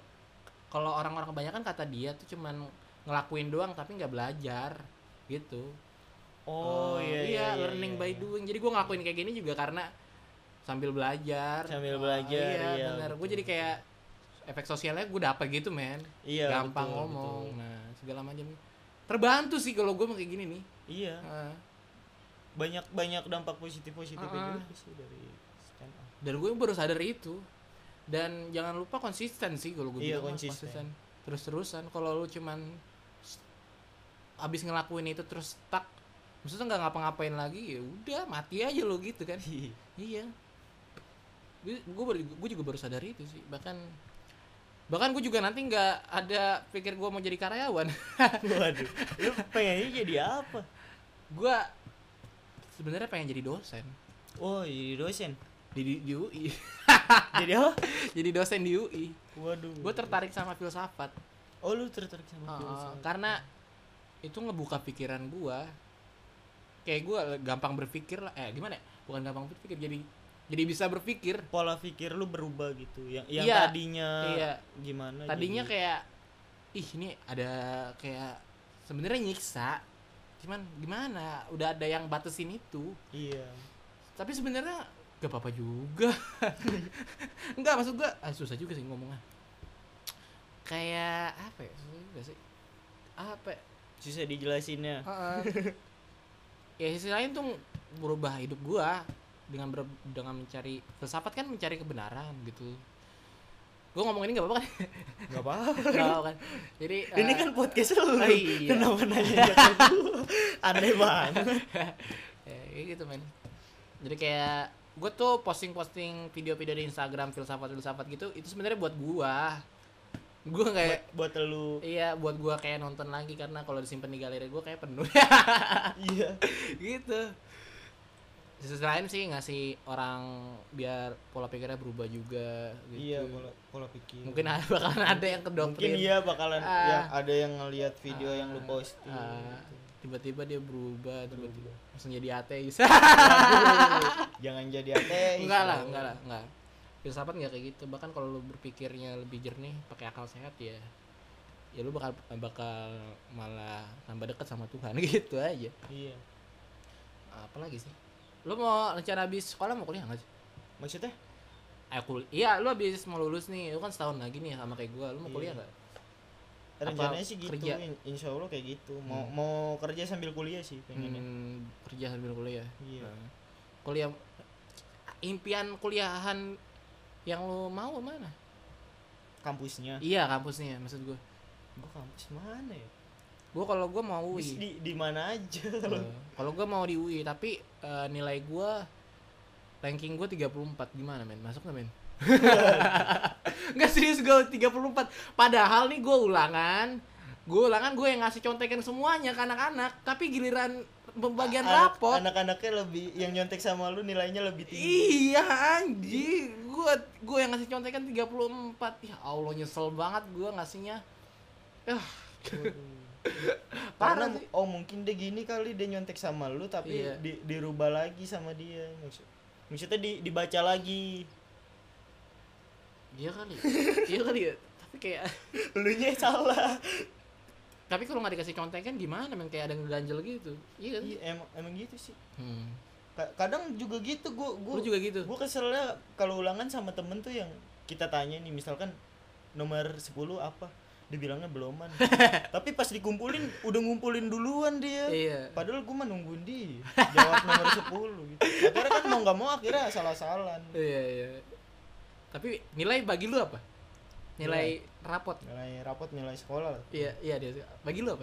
S1: kalau orang-orang kebanyakan kata dia tuh cuman ngelakuin doang tapi nggak belajar gitu
S2: Oh, iya, iya, iya,
S1: learning
S2: iya,
S1: by
S2: iya.
S1: doing jadi gue ngelakuin kayak gini juga karena sambil belajar
S2: Sambil
S1: Oh,
S2: belajar,
S1: iya,
S2: iya,
S1: bener gue
S2: betul,
S1: jadi kayak efek sosialnya gue dapet gitu men
S2: Iya.
S1: gampang
S2: betul,
S1: ngomong
S2: betul.
S1: nah segala macam terbantu sih kalau gue kayak gini nih
S2: Iya.
S1: Ah.
S2: Banyak banyak dampak positif positifnya
S1: Ah, ah.
S2: juga sih dari stand up.
S1: dan gue baru sadar itu dan jangan lupa konsisten sih kalau gue
S2: Iya,
S1: bilang, Mas,
S2: konsisten.
S1: terus terusan kalau lu cuman s- abis ngelakuin itu terus stuck maksudnya nggak ngapa-ngapain lagi ya udah mati aja lo gitu kan iya gue gue baru- gue juga baru sadar itu sih bahkan bahkan gue juga nanti nggak ada pikir gue mau jadi karyawan
S2: Waduh, lu pengennya jadi apa?
S1: gue sebenarnya pengen jadi dosen
S2: Oh, jadi dosen.
S1: di, di, di UI
S2: Jadi apa?
S1: jadi dosen di UI
S2: Waduh.
S1: gue tertarik sama filsafat
S2: Oh, lu tertarik sama
S1: Heeh,
S2: filsafat.
S1: Ah, karena itu ngebuka pikiran gua kayak gua gampang berpikir lah eh gimana ya bukan gampang berpikir jadi jadi bisa berpikir
S2: pola pikir lu berubah gitu. Yang yang
S1: Iya.
S2: tadinya
S1: Iya.
S2: gimana?
S1: tadinya
S2: jadi-
S1: kayak ih ini ada kayak sebenarnya nyiksa cuman gimana udah ada yang batasin itu
S2: iya.
S1: tapi sebenarnya gak apa-apa juga enggak maksud gua ah, susah juga sih ngomongnya kayak apa ya susah juga sih apa ya?
S2: Susah dijelasinnya.
S1: Heeh. ya sisi lain tuh berubah hidup gua dengan ber- dengan mencari filsafat kan mencari kebenaran gitu gua ngomong ini nggak apa-apa kan
S2: Enggak apa-apa.
S1: Nggak apa-apa kan jadi eh,
S2: Ini kan podcast lu.
S1: oh iya.
S2: Kenapa nanya kayak gitu? Aneh banget.
S1: ya, kayak gitu men jadi kayak gua tuh posting-posting video-video di Instagram filsafat-filsafat gitu itu sebenarnya buat gua gua kayak
S2: Buat lu.
S1: iya buat gua kayak nonton lagi karena kalau disimpan di galeri gua kayak penuh
S2: Iya.
S1: gitu di sisi lain sih ngasih orang biar pola pikirnya berubah juga gitu.
S2: Iya, pola pola pikir.
S1: mungkin ada bakalan ada yang
S2: Mungkin
S1: kedoktrin
S2: iya bakalan
S1: Ah.
S2: ya ada yang ngelihat video yang lu
S1: Ah,
S2: posting. gitu.
S1: ah, tiba-tiba dia berubah tiba-tiba
S2: Berubah.
S1: langsung jadi ateis
S2: Aduh, Jangan jadi ateis.
S1: enggak lah
S2: dong.
S1: enggak lah enggak filsafat nggak kayak gitu bahkan kalau lu berpikirnya lebih jernih pakai akal sehat ya ya lu bakal bakal malah tambah dekat sama Tuhan gitu aja
S2: Iya.
S1: apalagi sih lu mau rencana habis sekolah mau kuliah nggak sih
S2: Maksudnya?
S1: aku iya lu habis mau lulus nih lu kan setahun lagi nih sama kayak gua lu mau kuliah
S2: Iya.
S1: nggak Apa
S2: rencananya sih gitu
S1: kerja?
S2: in- insya allah kayak gitu mau mau kerja sambil kuliah sih pengennya
S1: hmm, kerja sambil kuliah
S2: Iya.
S1: Nah, kuliah impian kuliahan yang lu mau mana
S2: kampusnya
S1: iya kampusnya maksud gua
S2: gua kampus mana ya
S1: gua kalau gua mau UI
S2: Terus di di mana aja
S1: Eh, kalau gua mau di UI tapi eh, nilai gua ranking gua 34 gimana men masuk nggak men Enggak serius gue 34 Padahal nih gue ulangan Gue ulangan gue yang ngasih contekan semuanya ke anak-anak Tapi giliran pembagian
S2: Anak-
S1: rapot
S2: anak-anaknya lebih yang nyontek sama lu nilainya lebih tinggi
S1: Iya anjing Gue gue yang ngasih contekan 34 Ya Allah nyesel banget gue ngasihnya Ah,
S2: karena
S1: Parah sih
S2: oh mungkin dia gini kali dia nyontek sama lu tapi
S1: Iya.
S2: di, dirubah lagi sama dia Maksud- maksudnya di, dibaca lagi
S1: Iya kali Iya kali ya Tapi kayak
S2: elunya salah
S1: Tapi kalau nggak dikasih contekan gimana men Kayak ada ngeganjel gitu Iya kan
S2: Iya, emang emang gitu sih
S1: hmm.
S2: Ka- kadang juga gitu gua gua
S1: Lu juga gitu
S2: gue keselnya kalau ulangan sama temen tuh yang kita tanya nih misalkan nomor 10 apa dibilangnya beloman tapi pas dikumpulin udah ngumpulin duluan dia
S1: Iya
S2: padahal gue nungguin dia jawab nomor 10 gitu akhirnya kan mau nggak mau akhirnya salah-salan
S1: Iya iya. Tapi nilai bagi lu apa? Nilai rapot.
S2: nilai rapot nilai sekolah lah.
S1: Iya iya dia. Bagi lu apa?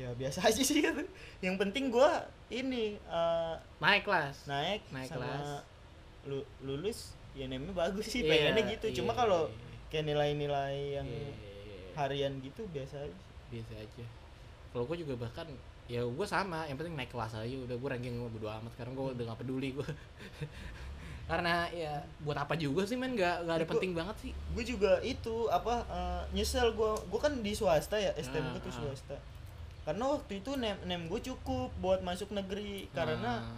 S2: ya biasa aja sih gitu. yang penting gue ini eh,
S1: Naik kelas.
S2: naik,
S1: Naik
S2: sama
S1: kelas.
S2: lu- lulus ya namanya bagus sih
S1: Iya,
S2: pengennya gitu cuma
S1: iya,
S2: kalau
S1: iya, iya.
S2: kayak nilai-nilai yang
S1: Iya, iya,
S2: harian gitu biasa aja sih.
S1: biasa aja. Kalau gua juga bahkan ya gua sama, yang penting naik kelas aja udah gua ranking gua bodo amat sekarang gua udah gak peduli gua. Karena ya buat apa juga sih men nggak nggak ada
S2: Gua-
S1: penting banget sih.
S2: gue juga itu apa eh, nyesel gue gue kan di swasta ya STM gue
S1: Ah,
S2: tuh
S1: ah.
S2: swasta karena waktu itu nem nem gue cukup buat masuk negeri karena
S1: Nah,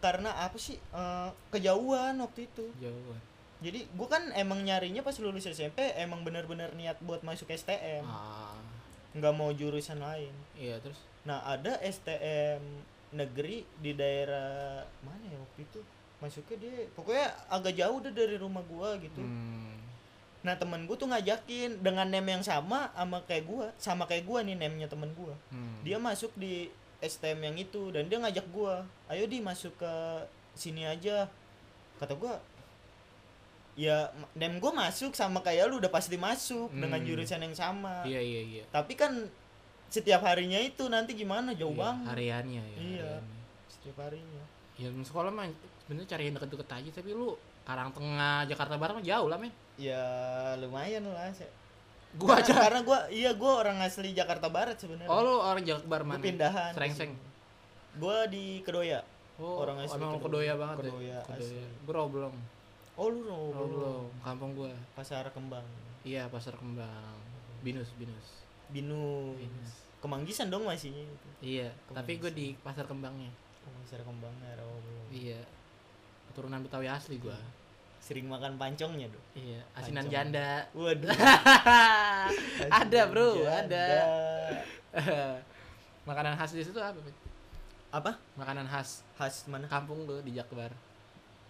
S2: karena apa sih eh, kejauhan waktu itu
S1: jauh.
S2: jadi gue kan emang nyarinya pas lulus SMP emang bener-bener niat buat masuk STM
S1: Ah,
S2: nggak mau jurusan lain
S1: iya terus
S2: nah ada STM negeri di daerah mana ya waktu itu masuknya dia pokoknya agak jauh deh dari rumah gua gitu
S1: hmm,
S2: Nah temen gue tuh ngajakin dengan name yang sama sama kayak gua sama kayak gua nih name-nya temen gua
S1: hmm.
S2: Dia masuk di STM yang itu dan dia ngajak gua ayo di masuk ke sini aja. kata gua ya nem gua masuk sama kayak lu udah pasti masuk dengan
S1: Hmm.
S2: jurusan yang sama
S1: Iya iya iya.
S2: tapi kan setiap harinya itu nanti gimana jauh
S1: Iya,
S2: banget
S1: hariannya ya.
S2: Iya.
S1: hariannya.
S2: setiap harinya
S1: Ya sekolah mah sebenarnya cari yang deket-deket aja tapi lu Karang Tengah, Jakarta Barat mah jauh lah men.
S2: ya lumayan lah saya-
S1: Gua
S2: karena,
S1: aja.
S2: karena gua iya gua orang asli Jakarta Barat sebenarnya
S1: Oh lu orang Jakarta Barat
S2: Gua
S1: mana?
S2: pindahan
S1: Serengseng.
S2: gua di Kedoya
S1: Oh, orang
S2: Orang asli
S1: emang
S2: Kedoya.
S1: kedoya banget
S2: Kedoya,
S1: ya.
S2: asli.
S1: Kedoya. Bro belum.
S2: oh lu no,
S1: Bro belum. Kampung gua.
S2: pasar kembang
S1: Iya, Pasar Kembang. Binus, Binus.
S2: binu
S1: Binus.
S2: kemanggisan dong masihnya itu
S1: Iya,
S2: Kembang
S1: tapi gua
S2: sih.
S1: di Pasar Kembangnya.
S2: oh, pasar kembang ya oh, belum.
S1: Iya. Keturunan Betawi asli gua.
S2: sering makan pancongnya dong
S1: Iya, asinan
S2: Pancong.
S1: janda.
S2: waduh
S1: ada, Bro,
S2: Asinan
S1: ada.
S2: janda.
S1: Makanan khas di situ apa? Fit?
S2: apa
S1: Makanan khas
S2: khas mana
S1: kampung lu di Jakbar.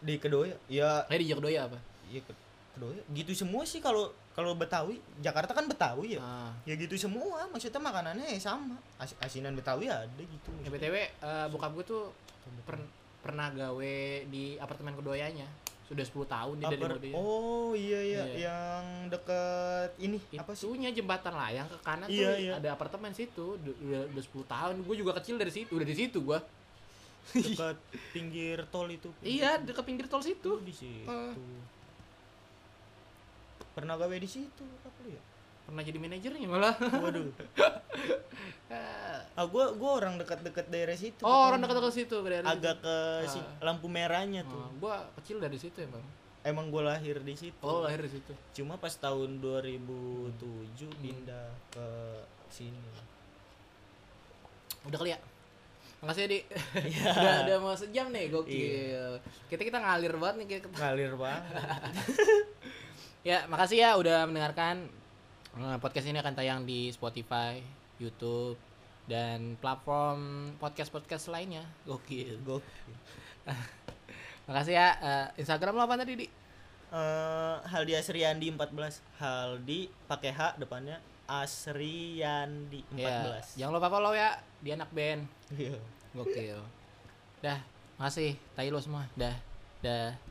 S2: di Kedoya ya
S1: Eh di Jakdoya apa?
S2: ya Ke- Kedoya gitu semua sih kalau kalau Betawi Jakarta kan Betawi ya
S1: Ah.
S2: ya gitu semua maksudnya makanannya ya sama As- asinan Betawi ada gitu
S1: Ya, BTW, eh, bokap gue tuh per- pernah gawe di apartemen kedoyanya. Sudah 10 tahun dia dari
S2: Upper-
S1: Kedoya.
S2: oh iya iya
S1: ya? Iya.
S2: yang deket ini apa sih
S1: Itunya jembatan layang ke kanan
S2: Iya,
S1: tuh
S2: iya.
S1: ada apartemen situ Du- udah, udah 10 tahun. Gue juga kecil dari situ, udah di situ gua.
S2: deket pinggir tol itu
S1: iya, dekat pinggir tol
S2: itu
S1: situ.
S2: di situ
S1: Ah.
S2: pernah gawe di situ apa lu ya
S1: Pernah jadi manajernya malah. Eh,
S2: waduh ah gua gua orang dekat-dekat daerah situ
S1: oh, orang dekat-dekat situ dari
S2: agak ke si
S1: Ah.
S2: lampu merahnya
S1: situ.
S2: tuh
S1: Oh, gua kecil dari situ emang.
S2: emang gua lahir di situ
S1: Oh, lahir di situ.
S2: cuma pas tahun 2007
S1: Hmm.
S2: pindah ke sini
S1: Udah kali ya? Makasih Di.
S2: Iya.
S1: udah, udah mau sejam nih, gokil. Kita kita ngalir banget nih kita.
S2: ngalir banget
S1: Ya, makasih ya udah mendengarkan. Eh, Podcast ini akan tayang di Spotify, YouTube, dan platform podcast-podcast lainnya. Gokil.
S2: gokil
S1: Makasih ya. Eh, Instagram lo apa tadi, Di?
S2: Eh, Haldi Asriandi 14 Haldi pakai H depannya Asriandi
S1: Ya,
S2: 14
S1: jangan lupa follow ya. Di anak band.
S2: Iya.
S1: Gokil. Dah, makasih. Tai lo semua. Dah. Dah.